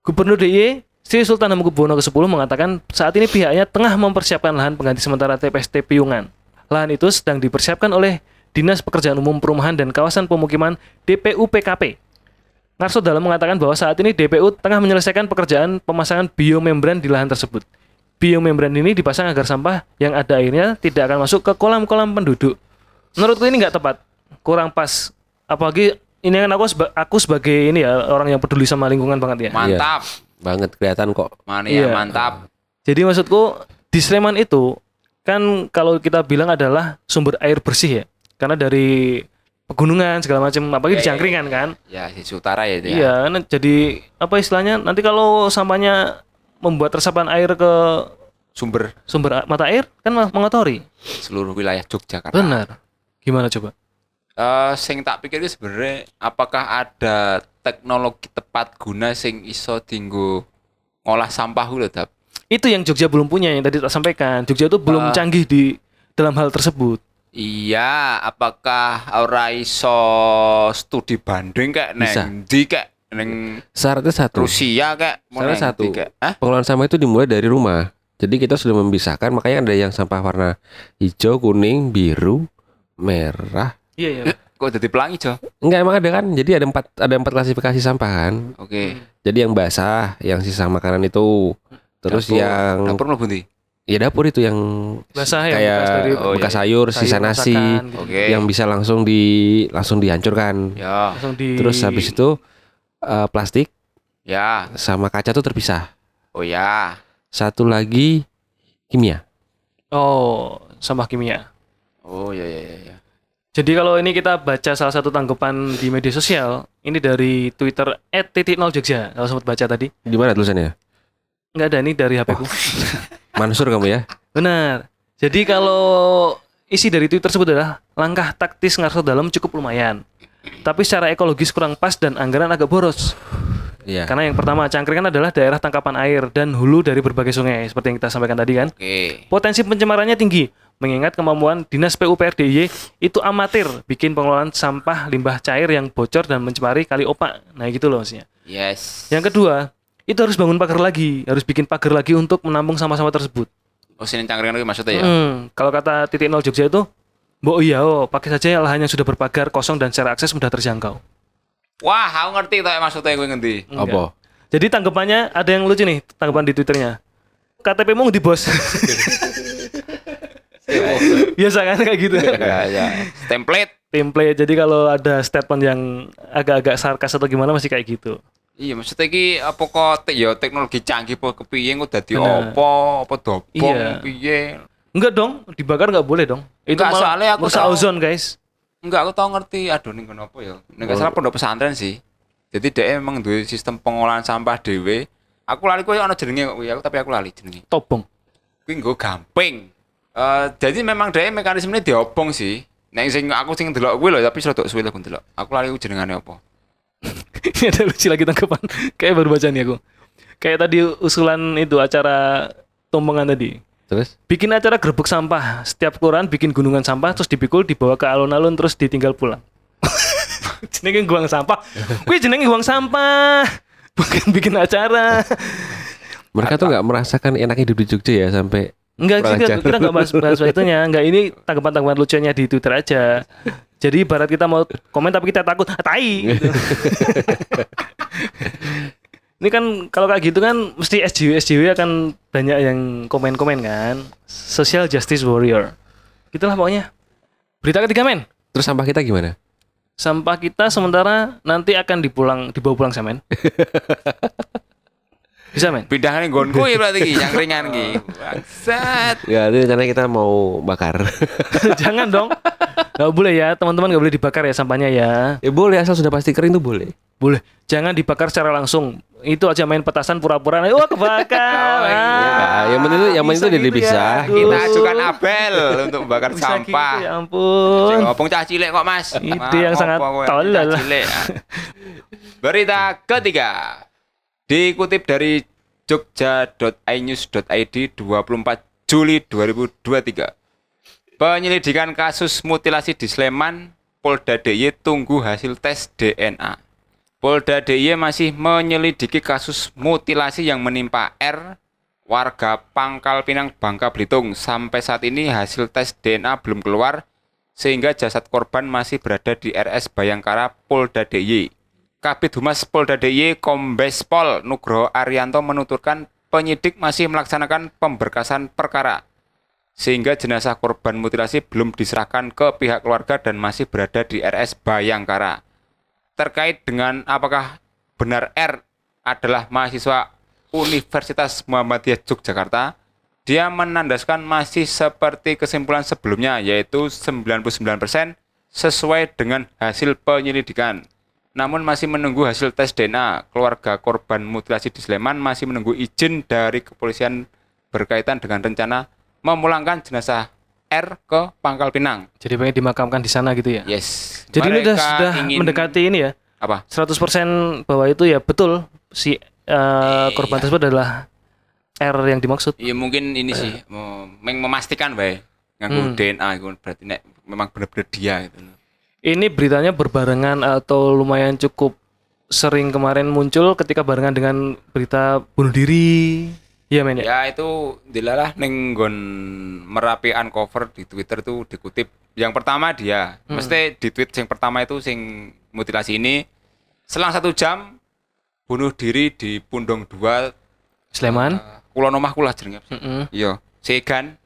Gubernur DIY Sri Sultan Hamengkubuwono ke-10 mengatakan saat ini pihaknya tengah mempersiapkan lahan pengganti sementara TPST Piungan. Lahan itu sedang dipersiapkan oleh Dinas Pekerjaan Umum Perumahan dan Kawasan Pemukiman DPUPKP. Narso dalam mengatakan bahwa saat ini DPU tengah menyelesaikan pekerjaan pemasangan biomembran di lahan tersebut. Biomembran ini dipasang agar sampah yang ada airnya tidak akan masuk ke kolam-kolam penduduk. Menurutku ini nggak tepat, kurang pas. Apalagi ini kan aku seba- aku sebagai ini ya orang yang peduli sama lingkungan banget ya.
Mantap.
Banget kelihatan kok.
Mania
Iya.
mantap.
Jadi maksudku di Sleman itu kan kalau kita bilang adalah sumber air bersih ya. Karena dari pegunungan segala macam apalagi di
Iya, iya,
Jangkringan kan.
Ya, sisi utara ya itu ya.
Iya, nah, jadi apa istilahnya? Nanti kalau sampahnya membuat resapan air ke
Sumber
sumber a- mata air kan meng- mengotori.
seluruh wilayah Yogyakarta.
Benar. Gimana coba?
Eh, sing tak pikir itu sebenarnya apakah ada teknologi tepat guna sing iso dinggo ngolah sampah gitu, Dap?
Itu yang Jogja belum punya yang tadi tak sampaikan. Jogja itu belum
Ah.
canggih di dalam hal tersebut.
Iya, apakah ora iso studi banding kayak neng
Bisa.
ndi kayak neng
Syaratnya satu.
Rusia kayak mau
Salah
neng
satu.
ndi kayak? Hah?
Pengelolaan sampah itu dimulai dari rumah. Jadi kita sudah memisahkan, makanya ada yang sampah warna hijau, kuning, biru, merah.
Iya, iya.
Kok jadi pelangi, Jo?
Enggak emang ada kan? Jadi ada empat ada empat klasifikasi sampah kan.
Oke.
Jadi yang basah, yang sisa makanan itu, terus
Dapur.
yang
Dapur lo bunti.
ya dapur itu yang
Basah ya,
kayak
bekas
bekas,
dari-
Oh, iya.
sayur, sisa
Sayur
nasi
masakan gitu.
Oke.
yang bisa langsung di langsung dihancurkan.
Ya,
Langsung di
Terus habis itu eh, plastik
ya.
sama kaca tuh terpisah.
Oh ya.
Satu lagi kimia.
Oh, sampah kimia.
Oh ya ya ya. ya.
Jadi kalau ini kita baca salah satu tanggapan di media sosial, ini dari Twitter @titik0jogja. Kalau sempat baca tadi,
Gimana tulisannya?
nggak ada ini dari HP ku.
Mansur kamu ya?
Benar. Jadi kalau isi dari Twitter tersebut adalah langkah taktis ngarso dalam cukup lumayan. Tapi secara ekologis kurang pas dan anggaran agak boros.
Iya.
Kan
Karena yang pertama, cangkringan adalah daerah tangkapan air dan hulu dari berbagai sungai seperti yang kita sampaikan tadi kan.
Oke.
Potensi pencemarannya tinggi, mengingat kemampuan Dinas PUPR DIY itu amatir bikin pengelolaan sampah limbah cair yang bocor dan mencemari kali opak. Nah gitu loh maksudnya.
Yes.
Yang kedua, itu harus bangun pagar lagi, harus bikin pagar lagi untuk menampung sama-sama tersebut.
Oh sini cangkringan lagi maksudnya ya.
Hmm, kalau kata titik nol Jogja itu, Mbok iya, oh, pakai saja lahan yang sudah berpagar kosong dan secara akses mudah terjangkau.
Wah, aku ngerti tuh maksudnya gue ngerti.
Enggak.
Apa?
Jadi tanggapannya ada yang lucu nih, tanggapan di Twitternya. KTP-mu di bos. Biasa kan kayak gitu.
Ya ya. Template.
template. Jadi kalau ada statement yang agak-agak sarkas atau gimana masih kayak gitu.
Iya, maksudnya iki apa kok te- ya teknologi canggih apa kepiye kok dadi
Bener.
opo, apa dobong
Iya.
piye.
Enggak dong, dibakar nggak boleh dong. Itu
Nggak,
malah
soalnya aku
merusak
tahu.
ozon guys.
Enggak, aku tau ngerti. Aduh, ini kenapa ya? Ini
Oh.
nggak salah pondok pesantren sih. Jadi dia emang duwe sistem pengolahan sampah dhewe. Aku lali kok ana jenenge kok kuwi, aku tapi aku lali jenenge.
Tobong.
Kuwi nggo gamping. Eh, jadi memang dia mekanismenya diobong sih. Nek sing aku sing delok kuwi lho, tapi serodok suwe lho aku delok. Aku lali kuwi jenengane apa?
Ini ada lucu lagi tanggapan. kayak baru baca nih aku. Kayak tadi usulan itu acara tumpengan tadi.
Terus?
Bikin acara gerbek sampah. Setiap kelurahan bikin gunungan sampah terus dipikul dibawa ke alun-alun terus ditinggal pulang. jenenge buang sampah. Kuwi jenenge buang sampah. Bukan bikin acara.
Mereka tuh nggak merasakan enaknya hidup di Jogja ya sampai
Enggak
Kurang
kita,
ajar.
kita enggak bahas bahas itunya. Enggak ini tanggapan-tanggapan lucunya di Twitter aja. Jadi ibarat kita mau komen tapi kita takut "Ah, tai. gitu. ini kan kalau kayak gitu kan mesti SJW SJW akan banyak yang komen-komen kan. Social justice warrior. Gitulah pokoknya. Berita ketiga men.
terus sampah kita gimana?
sampah kita sementara nanti akan dipulang dibawa pulang sama men bisa men
Pindahan yang gon kuwi berarti ki, yang ringan ki. Bangsat.
Ya, ini rencananya kita mau bakar.
jangan dong nggak boleh ya teman-teman nggak boleh dibakar ya sampahnya ya
ya boleh asal sudah pasti kering tuh boleh.
boleh jangan dibakar secara langsung itu aja main petasan pura-pura wah kebakar
Oh, iya.
Ah,
yang penting itu- yang penting
bisa
itu
gitu
dipisah.
ya.
Kita
Aduh,
ajukan Abel untuk membakar
bisa
sampah.
gitu, ya ampun
Sing ngopong cah cilik kok Mas.
Ide yang
Ah,
sangat
ngopong kowe,
tolol.
cah cilik. ya. Berita ketiga. Dikutip dari jogja.inews.id 24 Juli 2023. Penyelidikan kasus mutilasi di Sleman, Polda DIY tunggu hasil tes DNA. Polda DIY masih menyelidiki kasus mutilasi yang menimpa R, warga Pangkal Pinang, Bangka Belitung. Sampai saat ini hasil tes DNA belum keluar, sehingga jasad korban masih berada di RS Bayangkara Polda DIY. Kabit Humas Polda DIY Kombes Pol Nugroho Arianto menuturkan penyidik masih melaksanakan pemberkasan perkara sehingga jenazah korban mutilasi belum diserahkan ke pihak keluarga dan masih berada di RS Bayangkara. Terkait dengan apakah benar R adalah mahasiswa Universitas Muhammadiyah Yogyakarta, dia menandaskan masih seperti kesimpulan sebelumnya yaitu 99% sesuai dengan hasil penyelidikan. Namun masih menunggu hasil tes DNA. Keluarga korban mutilasi di Sleman masih menunggu izin dari kepolisian berkaitan dengan rencana memulangkan jenazah R ke Pangkal Pinang.
jadi pengen dimakamkan di sana gitu ya
Yes.
jadi ini udah
Mereka
sudah
ingin-
mendekati ini ya
apa?
100% bahwa itu ya betul si eh, korban tersebut adalah R yang dimaksud.
Ya mungkin ini sih mau meng- memastikan bae nganggo DNA iku berarti nek memang bener-bener dia gitu.
Ini beritanya berbarengan atau lumayan cukup sering kemarin muncul ketika barengan dengan berita bunuh diri. Iya men ya.
Ya itu dilalah neng nggon Merapi uncover di Twitter tuh dikutip. Yang pertama dia, mesti di tweet yang pertama itu sing mutilasi ini selang satu jam bunuh diri di Pundong 2
Sleman,
kulon omah kula jenenge.
heeh.
Iya, Segan.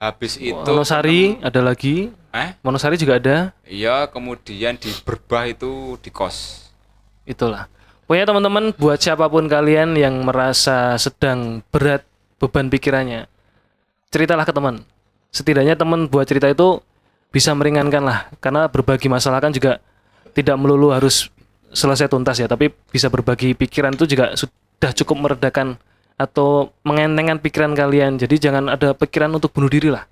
Habis itu
Monosari ada lagi.
eh
Monosari juga ada.
iya kemudian di Berbah itu di kos.
Itulah. Pokoknya teman-teman buat siapapun kalian yang merasa sedang berat beban pikirannya, ceritalah ke teman. Setidaknya teman buat cerita itu bisa meringankan lah, karena berbagi masalah kan juga tidak melulu harus selesai tuntas ya, tapi bisa berbagi pikiran itu juga sudah cukup meredakan atau mengentengkan pikiran kalian. Jadi jangan ada pikiran untuk bunuh diri lah.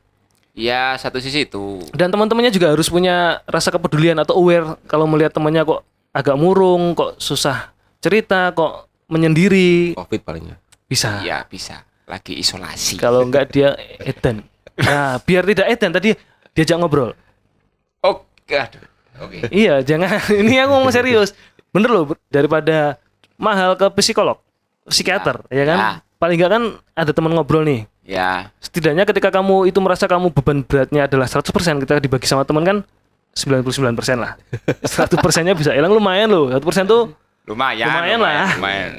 Ya satu sisi itu.
Dan teman-temannya juga harus punya rasa kepedulian atau aware kalau melihat temannya kok agak murung, kok susah cerita, kok menyendiri,
Covid palingnya.
bisa.
Ya bisa. Lagi isolasi.
Kalau enggak dia edan. Nah, biar tidak edan tadi diajak ngobrol.
Oke, aduh. Oke.
Iya, jangan ini aku ngomong serius. Bener loh bro. daripada mahal ke psikolog, psikiater, ya, kan?
Ya.
Paling enggak kan ada teman ngobrol nih.
Ya,
setidaknya ketika kamu itu merasa kamu beban beratnya adalah 100% kita dibagi sama teman kan 99% lah 100 persennya bisa hilang lumayan loh 1% tuh
lumayan.
Lumayan lah.
Lumayan. Lumayan.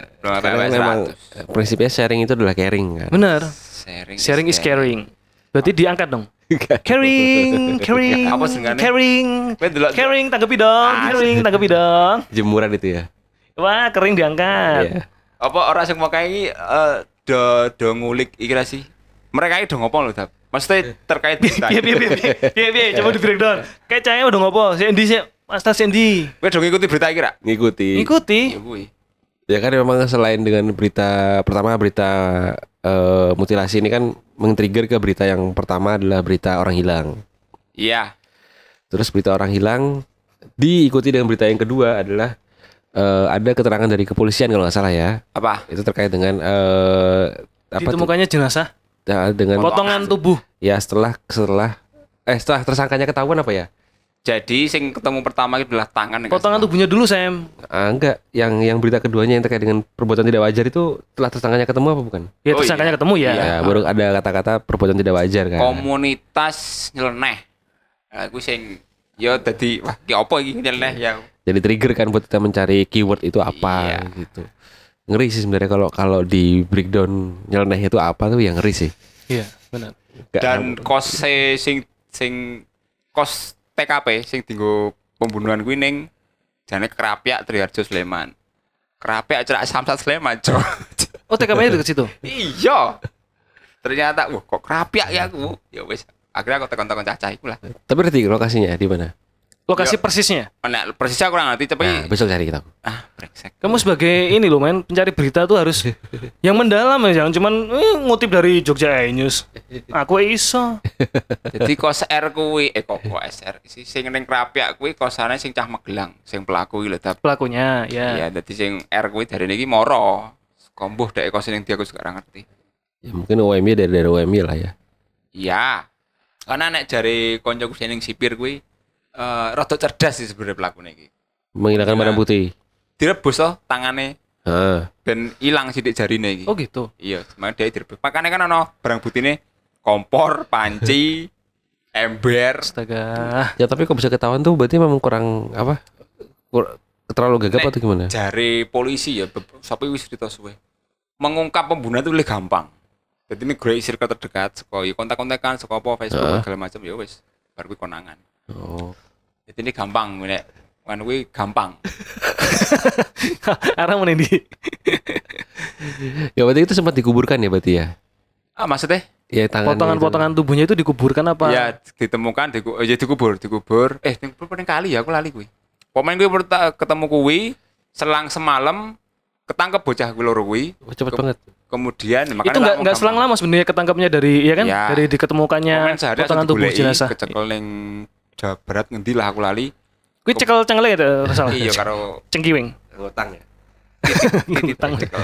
Karena
lumayan
kan emang
100.
eh, prinsipnya sharing itu adalah caring kan.
bener
Sharing,
sharing is caring berarti diangkat dong
Enggak.
caring caring
Apa senengannya?
caring
Weh, delok-
caring tanggapi dong caring tanggapi dong
Jemuran itu ya.
wah kering diangkat
Iya.
Apa orang yang mau kayak eh do do ngulik iki lah sih. Mereka itu do ngopong lho, Dap. Maksudnya terkait kita.
Piye piye piye piye piye piye coba di breakdown kayak cahaya udah ngopo si Endi si Mas Tas Endi
Kowe do ngikuti berita iki ra?
Ngikuti.
ikuti
Ya kuwi.
Ya kan memang selain dengan berita pertama berita eh, mutilasi ini kan men-trigger ke berita yang pertama adalah berita orang hilang.
Iya.
Terus berita orang hilang diikuti dengan berita yang kedua adalah eh, ada keterangan dari kepolisian kalau nggak salah ya.
Apa?
Itu terkait dengan eh, apa tuh?
ditemukannya jenazah
Ya, dengan
potongan tubuh
ya setelah setelah eh setelah tersangkanya ketahuan apa ya?
Jadi sing ketemu pertama itu adalah tangan. ya,
Potongan
Kak.
tubuhnya dulu Sam.
Ah, enggak, yang yang berita keduanya yang terkait dengan perbuatan tidak wajar itu telah tersangkanya ketemu apa bukan?
Ya
Oh,
tersangkanya
iya.
ketemu ya.
Ya, baru ada kata-kata perbuatan tidak wajar kan.
Komunitas nyeleneh. Aku sing ya tadi wah ki apa iki nyeleneh ya.
Jadi trigger kan buat kita mencari keyword itu
Iya.
apa gitu. Ngeri sih sebenarnya kalau kalau di breakdown nyeleneh itu apa tuh yang ngeri sih.
Iya, benar.
Nggak-
Dan kos sing sing kos TKP sing dinggo pembunuhan kuwi ning jane Kerapyak Triharjo Sleman. Kerapyak cerak Samsat Sleman, Cok.
Oh, TKP-nya dekat situ.
iya. Ternyata wah kok Kerapyak ya aku. Ya wis akhirnya aku tekan-tekan cacah iku lah.
tapi nanti lokasinya di mana?
Lokasi
Iya.
persisnya.
Nah, persisnya kurang ngerti tapi
Nah, besok cari kita.
ah brengsek.
Kamu sebagai ini loh men, pencari berita tuh harus yang mendalam ya, jangan cuman eh, ngutip dari Jogja Eye News. Aku iso.
Jadi kos R kuwi eh kok kok SR si sing ning Krapyak kuwi kosane sing cah Magelang, sing pelaku iki lho Dap.
Pelakunya ya.
Iya, dadi sing R kuwi dari niki moro. Kombuh dek kos ning dia aku sekarang ngerti.
Ya, mungkin UMY dari dari UMY lah ya.
Iya. Karena nek jari koncoku sing ning sipir kuwi eh rada cerdas sih sebenarnya pelaku iki.
Menghilangkan
Ya.
barang putih.
Direbus toh tangane
Heeh.
dan ilang sithik jarine iki.
Oh gitu.
Iya, makanya dia direbus. Makanya kan ono barang butine kompor, panci, ember.
Astaga.
Ya tapi kok bisa ketahuan tuh berarti memang kurang apa? Kur- terlalu gagap
Nek,
atau gimana?
jari polisi ya sampai wis cerita suwe mengungkap pembunuhan itu lebih gampang jadi ini grey circle terdekat saka ya kontak-kontakan saka apa Facebook
Heeh.
segala macam ya wis baru kuwi konangan
Oh.
jadi ini gampang nek kan kuwi gampang
Arah mana ini?
Ya berarti itu sempat dikuburkan ya berarti ya.
ah maksudnya
Ya tangan
Potongan-potongan tubuhnya itu dikuburkan apa?
ya ditemukan diku, eh, ya dikubur dikubur eh dikubur paling kali ya aku lali kuwi pemain kuwi perta- ketemu kuwi selang semalam ketangkep bocah kuwi loro kuwi
Gitu. Oh, cepet
Ke-
banget.
kemudian
itu nggak nggak selang lama sebenarnya ketangkapnya dari ya kan
Ya.
dari diketemukannya
Pemain sehari
potongan tubuh jenazah.
Kecekel ning Jawa Barat ngendi lah aku lali.
Kuwi ya, cekel cengle itu salah.
Iya karo
Cengkiwing.
Utang ya.
titik cekel.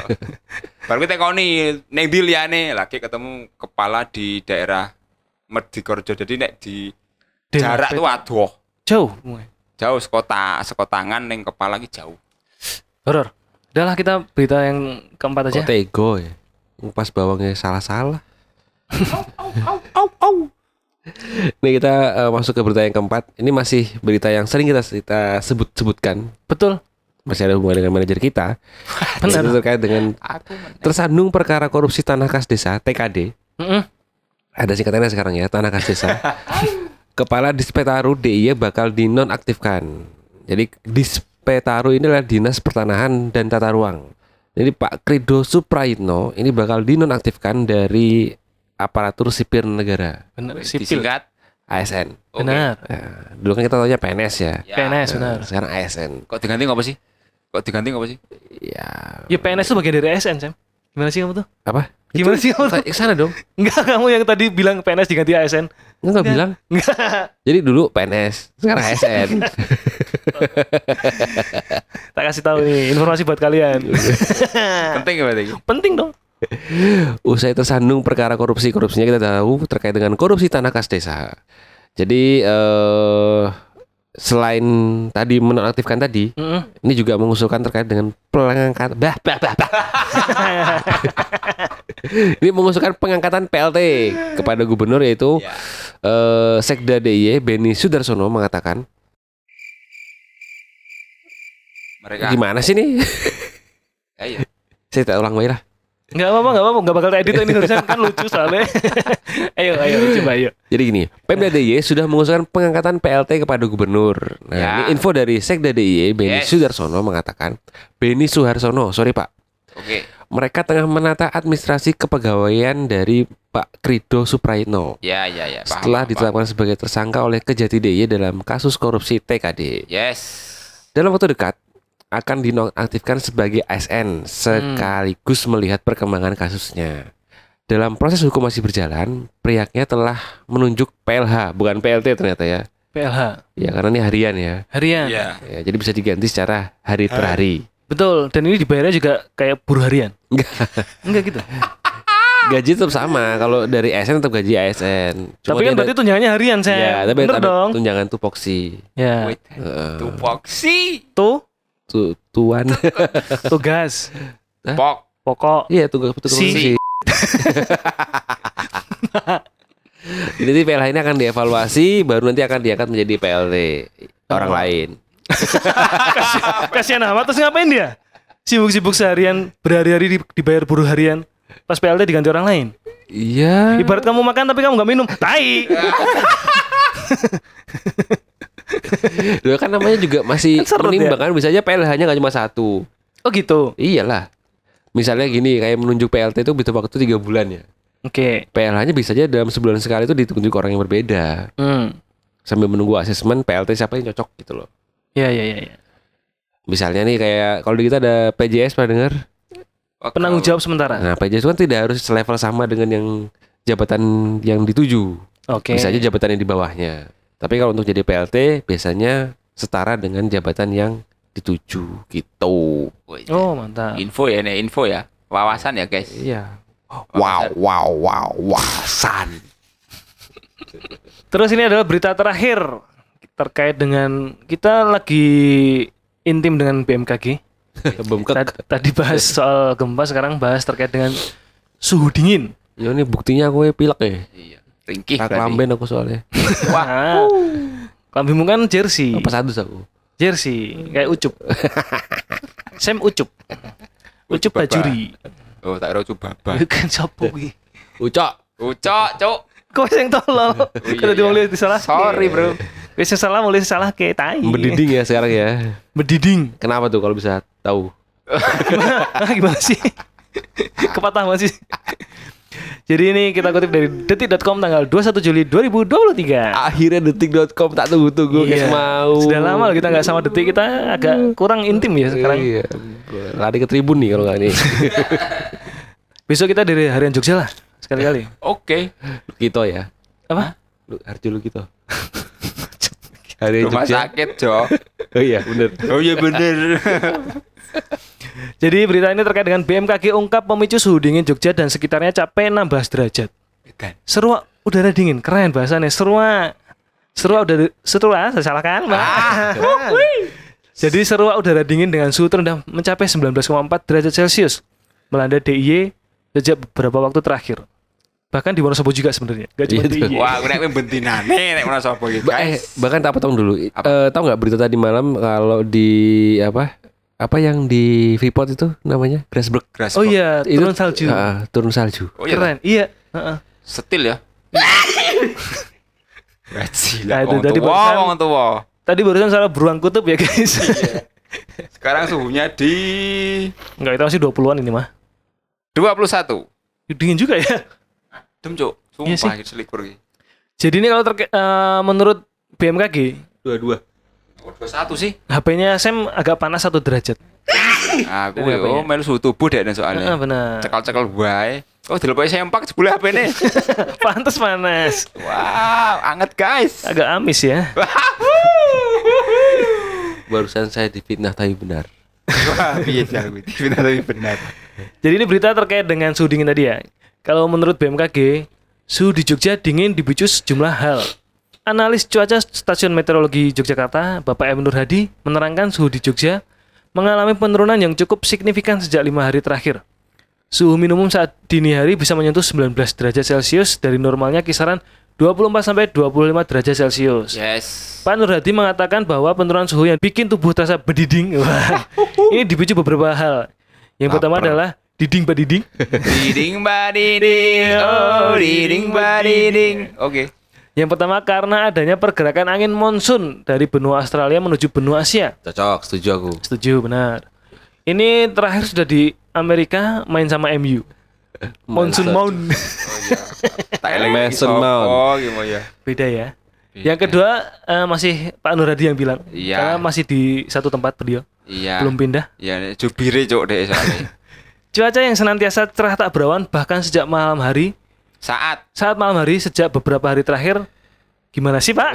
Baru kita tekoni ning ndi liyane lagi ketemu kepala di daerah Merdikorjo. Jadi nek di
Di
jarak
Merpet.
tuh aduh
Jauh.
jauh sekota sekotangan ning kepala iki jauh.
Horor. Udahlah kita berita yang keempat aja.
Kok tego ya? Ngupas bawangnya salah-salah. Nih kita eh, masuk ke berita yang keempat. Ini masih berita yang sering kita kita sebut-sebutkan.
Betul.
Masih ada hubungan dengan manajer kita.
Benar.
Itu terkait dengan
Aku men-
tersandung perkara korupsi tanah kas desa TKD.
Mm-mm.
Ada singkatannya sekarang ya, tanah kas desa. Kepala Dispetaru DIY bakal dinonaktifkan. Jadi Dispetaru inilah Dinas Pertanahan dan Tata Ruang. Jadi Pak Krido Suprayitno ini bakal dinonaktifkan dari aparatur sipir negara
Benar. Sipil.
disingkat.
ASN.
Oke.
Benar.
Ya, dulu kan kita taunya PNS ya.
Ya.
PNS benar.
Nah, Sekarang ASN.
Kok diganti ngapa sih? Kok diganti ngapa sih?
Ya.
Ya PNS itu bagian dari ASN, Sam. Gimana sih kamu tuh?
Apa?
Gimana sih kamu tuh?
Ke sana dong.
Enggak, kamu yang tadi bilang PNS diganti ASN.
Enggak
Enggak.
bilang.
Enggak.
Jadi dulu PNS, sekarang ASN.
Tak kasih tahu nih informasi buat kalian.
Penting ya berarti.
Penting dong.
Usai tersandung perkara korupsi, korupsinya kita tahu terkait dengan korupsi tanah kas desa. Jadi eh selain tadi menonaktifkan tadi,
Mm-mm.
ini juga mengusulkan terkait dengan pengangkatan bah, bah, bah, bah. ini mengusulkan pengangkatan PLT kepada gubernur yaitu
Ya.
eh, Sekda DIY Beni Sudarsono mengatakan
Mereka.
gimana sih nih
Ya, ya.
saya tak ulang lagi lah
Enggak apa-apa, enggak apa-apa, enggak bakal edit ini tulisan kan lucu soalnya. ayo, ayo coba ayo.
Jadi gini, Pemda DIY sudah mengusulkan pengangkatan PLT kepada gubernur. Nah,
Eh. Ya.
ini info dari Sekda DIY Beni
Yes.
Sudarsono mengatakan, Beni Suharsono, sorry Pak,
Oke.
mereka tengah menata administrasi kepegawaian dari Pak Krido Suprayitno
Ya, ya, ya. Paham,
setelah
paham.
ditetapkan sebagai tersangka oleh Kejati DIY dalam kasus korupsi TKD.
Yes.
Dalam waktu dekat akan dinonaktifkan sebagai ASN sekaligus melihat perkembangan kasusnya. Dalam proses hukum masih berjalan, pihaknya telah menunjuk PLH, bukan PLT ternyata ya.
PLH
Ya karena ini harian ya.
harian.
Ya.
Ya, jadi bisa diganti secara hari per hari.
Betul, dan ini dibayarnya juga kayak buruh harian.
Enggak.
Enggak gitu.
gaji tetap sama. Kalau dari ASN tetap gaji ASN. Cuma
tapi kan
dia
berarti tunjangannya harian
ada, ya,
saya.
tapi ada
Bener dong.
tunjangan tupoksi.
Ya.
Wait, tupoksi,
Tuh
Tu, tuan.
tugas
pok,
pokok.
Iya, tugas tugas
Si.
tupoksi. Jadi PLH ini akan dievaluasi baru nanti akan diangkat menjadi PLT orang lain.
Kasihan amat terus ngapain dia? Sibuk-sibuk seharian, berhari-hari di- dibayar buruh harian. Pas PLT diganti orang lain.
Iya.
Ibarat kamu makan tapi kamu nggak minum, tai.
Dulu kan namanya juga masih
Kan serut
menimbang kan bisa aja PLH-nya nggak cuma satu.
Oh gitu.
Iyalah. Misalnya gini, kayak menunjuk PLT itu butuh waktu tiga bulan ya.
Oke.
PLH-nya bisa aja dalam sebulan sekali itu ditunjuk orang yang berbeda
Hmm.
sambil menunggu asesmen PLT siapa yang cocok gitu loh.
Ya ya ya. ya.
Misalnya nih kayak kalau di kita ada PJS pernah dengar?
Penanggung jawab sementara.
Nah, PJS kan tidak harus level sama dengan yang jabatan yang dituju.
Oke.
Bisa aja jabatan yang di bawahnya. Tapi kalau untuk jadi PLT biasanya setara dengan jabatan yang dituju gitu.
Oh mantap.
info ya nih, info ya, wawasan ya guys.
Iya.
Wow,
wow, wow, wasan.
Terus ini adalah berita terakhir terkait dengan kita lagi intim dengan BMKG.
Bemkek.
Tad- Tadi bahas soal gempa, sekarang bahas terkait dengan suhu dingin.
Ya ini buktinya aku pilek ya.
Iya. ringkih
Kak
berarti.
lamben aku soalnya.
Wah. Klambimu Nah, kan jersey.
Apa sadus aku?
Jersey kayak Ucup. Sam Ucup. Ucup
Ucup Baba.
Bajuri.
Oh, tak kira coba
Bukan sopo kuwi.
Ucok.
Ucok, cok.
Kok yang tolol? Kalau
iya,
diwong
iya.
lihat disalah.
Sorry, bro.
Wis yang salah mulai salah kayak tai.
Mendiding ya sekarang ya.
Bediding.
Kenapa tuh kalau bisa tahu?
gimana, Hah, gimana sih? Kepatah masih. Jadi ini kita kutip dari detik.com tanggal 21 Juli 2023.
Akhirnya detik.com tak tunggu-tunggu guys
Iya.
mau.
Sudah lama loh kita nggak sama detik, kita agak kurang intim ya sekarang.
Hmm. Iya. Lari ke tribun nih kalau nggak nih.
Besok kita dari harian Jogja lah sekali-kali.
Oke.
Lukito ya.
Apa?
Lu Harjo Lukito. Hari
Rumah
Jogja.
sakit, cok.
Oh iya, bener.
Oh iya bener.
Jadi berita ini terkait dengan BMKG ungkap pemicu suhu dingin Jogja dan sekitarnya capai 16 derajat.
Edan.
Serua udara dingin, keren bahasanya. Serua serua udara serua saya salah kan, Mbak?
Ah,
Jadi serua udara dingin dengan suhu terendah mencapai 19,4 derajat Celcius melanda DIY sejak beberapa waktu terakhir. Bahkan di Wonosobo juga sebenarnya. Gak
Iya
cuma
tuh.
DIY.
Wah, aku nek bentinane nek menawa sapa iki,
Ba- eh,
guys.
bahkan tak potong dulu. Eh, tahu nggak berita tadi malam kalau di apa? Apa yang di Freeport itu namanya? Grasberg.
Grass
Oh
box.
iya,
Itu-
turun salju.
Ah, turun salju.
Oh iya.
Keren. Iya, heeh.
Setil ya. Wah,
Nah,
Gila,
itu
wong
tadi
tua,
barusan-
wong tua.
Tadi barusan salah beruang kutub ya, guys.
Sekarang suhunya di
Enggak, itu masih 20-an ini mah.
21.
Dingin juga ya.
Dem, cok.
Iya sih.
Sumpah iki selikur iki.
Jadi ini kalau terke- eh, menurut BMKG,
Dua-dua.
Oh, 21 sih.
HP-nya Sam agak panas satu derajat. Eh,
Nah, Aku
Dari apanya?
yo melu suhu tubuh deh nek soalnya.
Ah, benar.
Cekal-cekal wae. Oh, dilepoki sempak sebelah HP nih.
Pantes panas.
Wow, anget guys.
Agak amis ya.
Barusan saya difitnah tapi benar.
Wah, piye jago. Benar tapi benar.
Jadi ini berita terkait dengan suhu dingin tadi ya. Kalau menurut BMKG, suhu di Jogja dingin dipicu sejumlah hal. Analis cuaca Stasiun Meteorologi Yogyakarta, Bapak M. Nur Hadi, menerangkan suhu di Jogja mengalami penurunan yang cukup signifikan sejak lima hari terakhir. Suhu minimum saat dini hari bisa menyentuh 19 derajat Celcius dari normalnya kisaran 24 sampai 25 derajat Celcius.
Yes.
Pak Nur Hadi mengatakan bahwa penurunan suhu yang bikin tubuh terasa bediding. Wah, ini dipicu beberapa hal. Yang pertama adalah diding badiding.
Diding badiding, oh diding badiding. Oke.
Yang pertama karena adanya pergerakan angin monsun dari benua Australia menuju benua Asia.
Cocok, setuju aku.
Setuju, benar. Ini terakhir sudah di Amerika main sama MU. Monsun Mount.
Thailand
Mason
iso.
Mount.
Oh, gimana ya?
Beda ya. Yang kedua eh, masih Pak Nur Hadi yang bilang.
Iya.
Karena masih di satu tempat beliau,
Iya.
belum pindah.
Iya, jubire cok deh soalnya.
Cuaca yang senantiasa cerah tak berawan bahkan sejak malam hari
Saat
saat malam hari sejak beberapa hari terakhir gimana sih pak?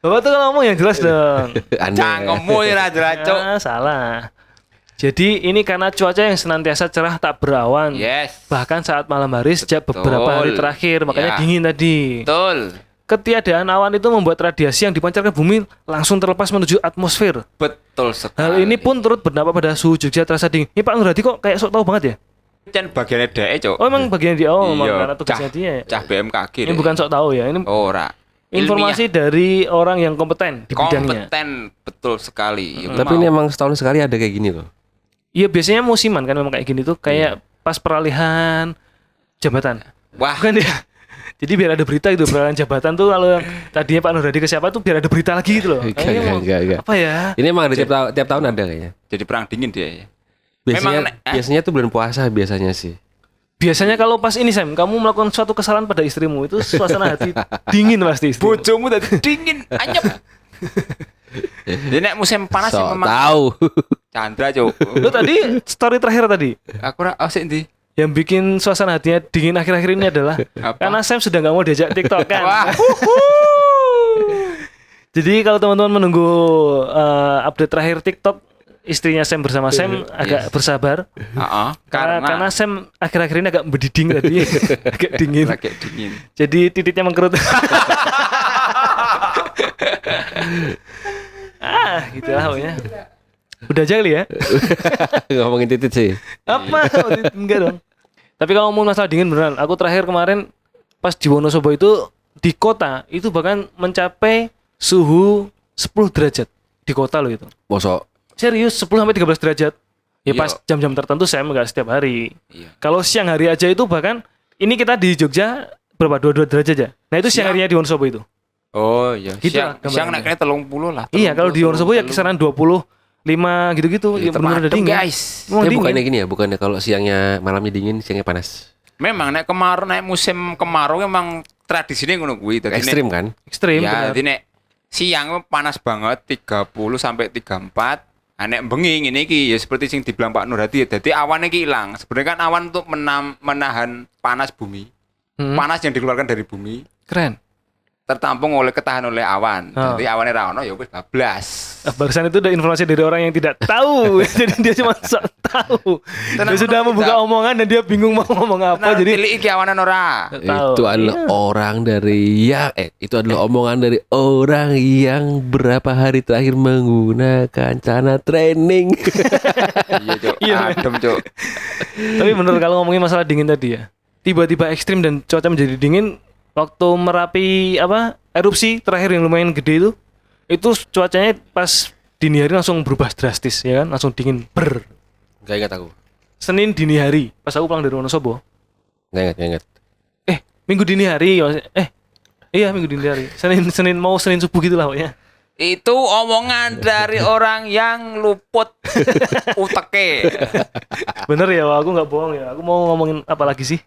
Bapak tuh kalau ngomong yang jelas dong.
Anda.
cangkemmu ora jelas Iya. cok.
Ah, salah. Jadi ini karena cuaca yang senantiasa cerah tak berawan.
Yes.
Bahkan saat malam hari sejak
Betul.
beberapa hari terakhir, makanya
Ya.
dingin tadi.
Betul.
Ketiadaan awan itu membuat radiasi yang dipancar ke bumi langsung terlepas menuju atmosfer.
Betul sekali.
Hal ini
iya.
pun turut berdampak pada suhu Jogja terasa dingin. Ini Pak Nurhadi kok kayak sok tahu banget ya?
Cen bagiannya dhek, Cuk.
Oh emang bagian dia, oh emang
Iya,
karena tugasnya
cah-
dia. ya?
Cah BMKG.
Ini
deh.
bukan sok tahu ya, ini
ora.
informasi dari orang yang kompeten di
Ilmiah.
bidangnya.
kompeten betul sekali. Ya,
Tapi
mau.
ini emang setahun sekali ada kayak gini loh.
Iya biasanya musiman kan memang kayak gini tuh kayak pas peralihan jabatan.
wah
Bukan ya. Jadi biar ada berita gitu peralihan jabatan tuh kalau yang tadinya Pak Nurhadi ke siapa tuh biar ada berita lagi gitu loh.
Oh,
Enggak,
iya.
Kayaknya
enggak,
mau-
enggak, enggak.
Apa ya?
Ini emang ada tiap, ta- tiap tahun ada kayaknya.
jadi perang dingin dia ya.
Biasanya
Memang, eh.
biasanya tuh bulan puasa biasanya sih.
Biasanya kalau pas ini Sam, kamu melakukan suatu kesalahan pada istrimu itu suasana hati dingin pasti istri.
Bojomu tadi dingin, anyep. Jadi nek musim panas sih
Sok
memang
tahu.
Chandra, Cuk.
Lo tadi story terakhir tadi
Aku ora oh, sik ndi?
yang bikin suasana hatinya dingin akhir-akhir ini adalah
Apa?
karena Sam sudah nggak mau diajak TikTok kan.
Wah.
Jadi kalau teman-teman menunggu eh, update terakhir TikTok istrinya Sam bersama Sam agak bersabar
Heeh,
karena, karena
Eh, karena
Sam akhir-akhir ini agak mendiding tadi agak dingin
lagi dingin.
jadi titiknya mengkerut ah gitu lah pokoknya udah aja kali ya
Ngomongin titit sih.
apa enggak dong tapi kalau ngomong masalah dingin beneran aku terakhir kemarin pas di Wonosobo itu di kota itu bahkan mencapai suhu 10 derajat di kota loh itu
Mosok
Serius 10 sampai 13 derajat. Ya
Iya.
pas jam-jam tertentu saya enggak setiap hari.
Iya.
Kalau siang hari aja itu bahkan ini kita di Jogja berapa 22 derajat aja. Nah itu siang
Siang.
harinya di Wonosobo itu.
Oh iya,
Gitu
siang,
lah gambarannya.
siang naiknya telung puluh lah.
iya, kalau di Wonosobo ya
30.
kisaran 25 gitu-gitu. Ya,
Iya,
benar udah
adem,
dingin.
guys.
Memang
Tapi
dingin.
bukannya gini ya, bukannya kalau siangnya malamnya dingin, siangnya panas.
Memang nek kemarau nek musim kemarau emang tradisinya ngono kuwi dadi nek-
Ekstrim kan?
ekstrim benar.
Ya, jadi nek siang panas banget 30 sampai 34. Nah, nek bengi ngene iki ya seperti sing dibilang Pak Nurhati ya dadi awannya iki ilang. Sebenarnya kan awan untuk menam- menahan panas bumi.
Hmm.
Panas yang dikeluarkan dari bumi
Keren.
tertampung oleh ketahan oleh awan.
Ah.
Jadi awannya ra ono ya wis bablas.
Ah, Barusan itu udah informasi dari orang yang tidak tahu. jadi dia cuma sok tahu.
Tenang,
dia sudah
tenang,
membuka
tidak.
omongan dan dia bingung mau ngomong apa.
Nah,
jadi
tilik iki awanan ora.
Nggak tahu.
Itu adalah
Iya.
orang dari yang eh itu adalah omongan dari orang yang berapa hari terakhir menggunakan celana training.
Iya, Cuk.
Iya, men.
Adem, Cuk.
Tapi bener kalau ngomongin masalah dingin tadi ya. Tiba-tiba ekstrim dan cuaca menjadi dingin. Waktu Merapi apa erupsi terakhir yang lumayan gede itu, itu cuacanya pas dini hari langsung berubah drastis ya kan, langsung dingin ber.
Gak ingat aku.
Senin dini hari, pas aku pulang dari Wonosobo,
Gak ingat, gak ingat.
eh minggu dini hari, maksudnya- eh iya minggu dini hari, Senin Senin mau Senin subuh gitu lah pokoknya.
Itu omongan dari orang yang luput uteke.
Bener ya, Wak, aku nggak bohong ya. Aku mau ngomongin apa lagi sih?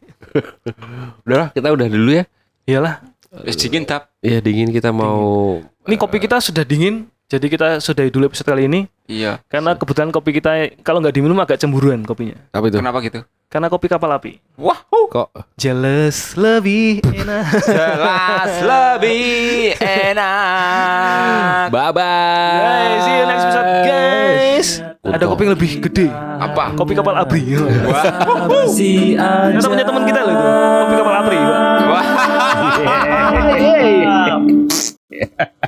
Udahlah, kita udah dulu ya.
Iyalah,
Wis dingin tap.
Ya dingin kita mau
ini kopi kita sudah dingin, jadi kita sudahi dulu episode kali ini.
Iya.
Karena kebetulan kopi kita kalau nggak diminum agak cemburuan kopinya.
apa itu?
Kenapa gitu?
Karena kopi kapal api.
Wah,
Kok
Jealous lebih enak.
jelas lebih enak.
bye bye.
guys, see you next episode guys. Ada kopi yang lebih gede.
Apa?
Kopi kapal api.
Wah.
Ternyata punya teman kita loh itu. Iya. Kopi kapal api.
Wah.
Yeay.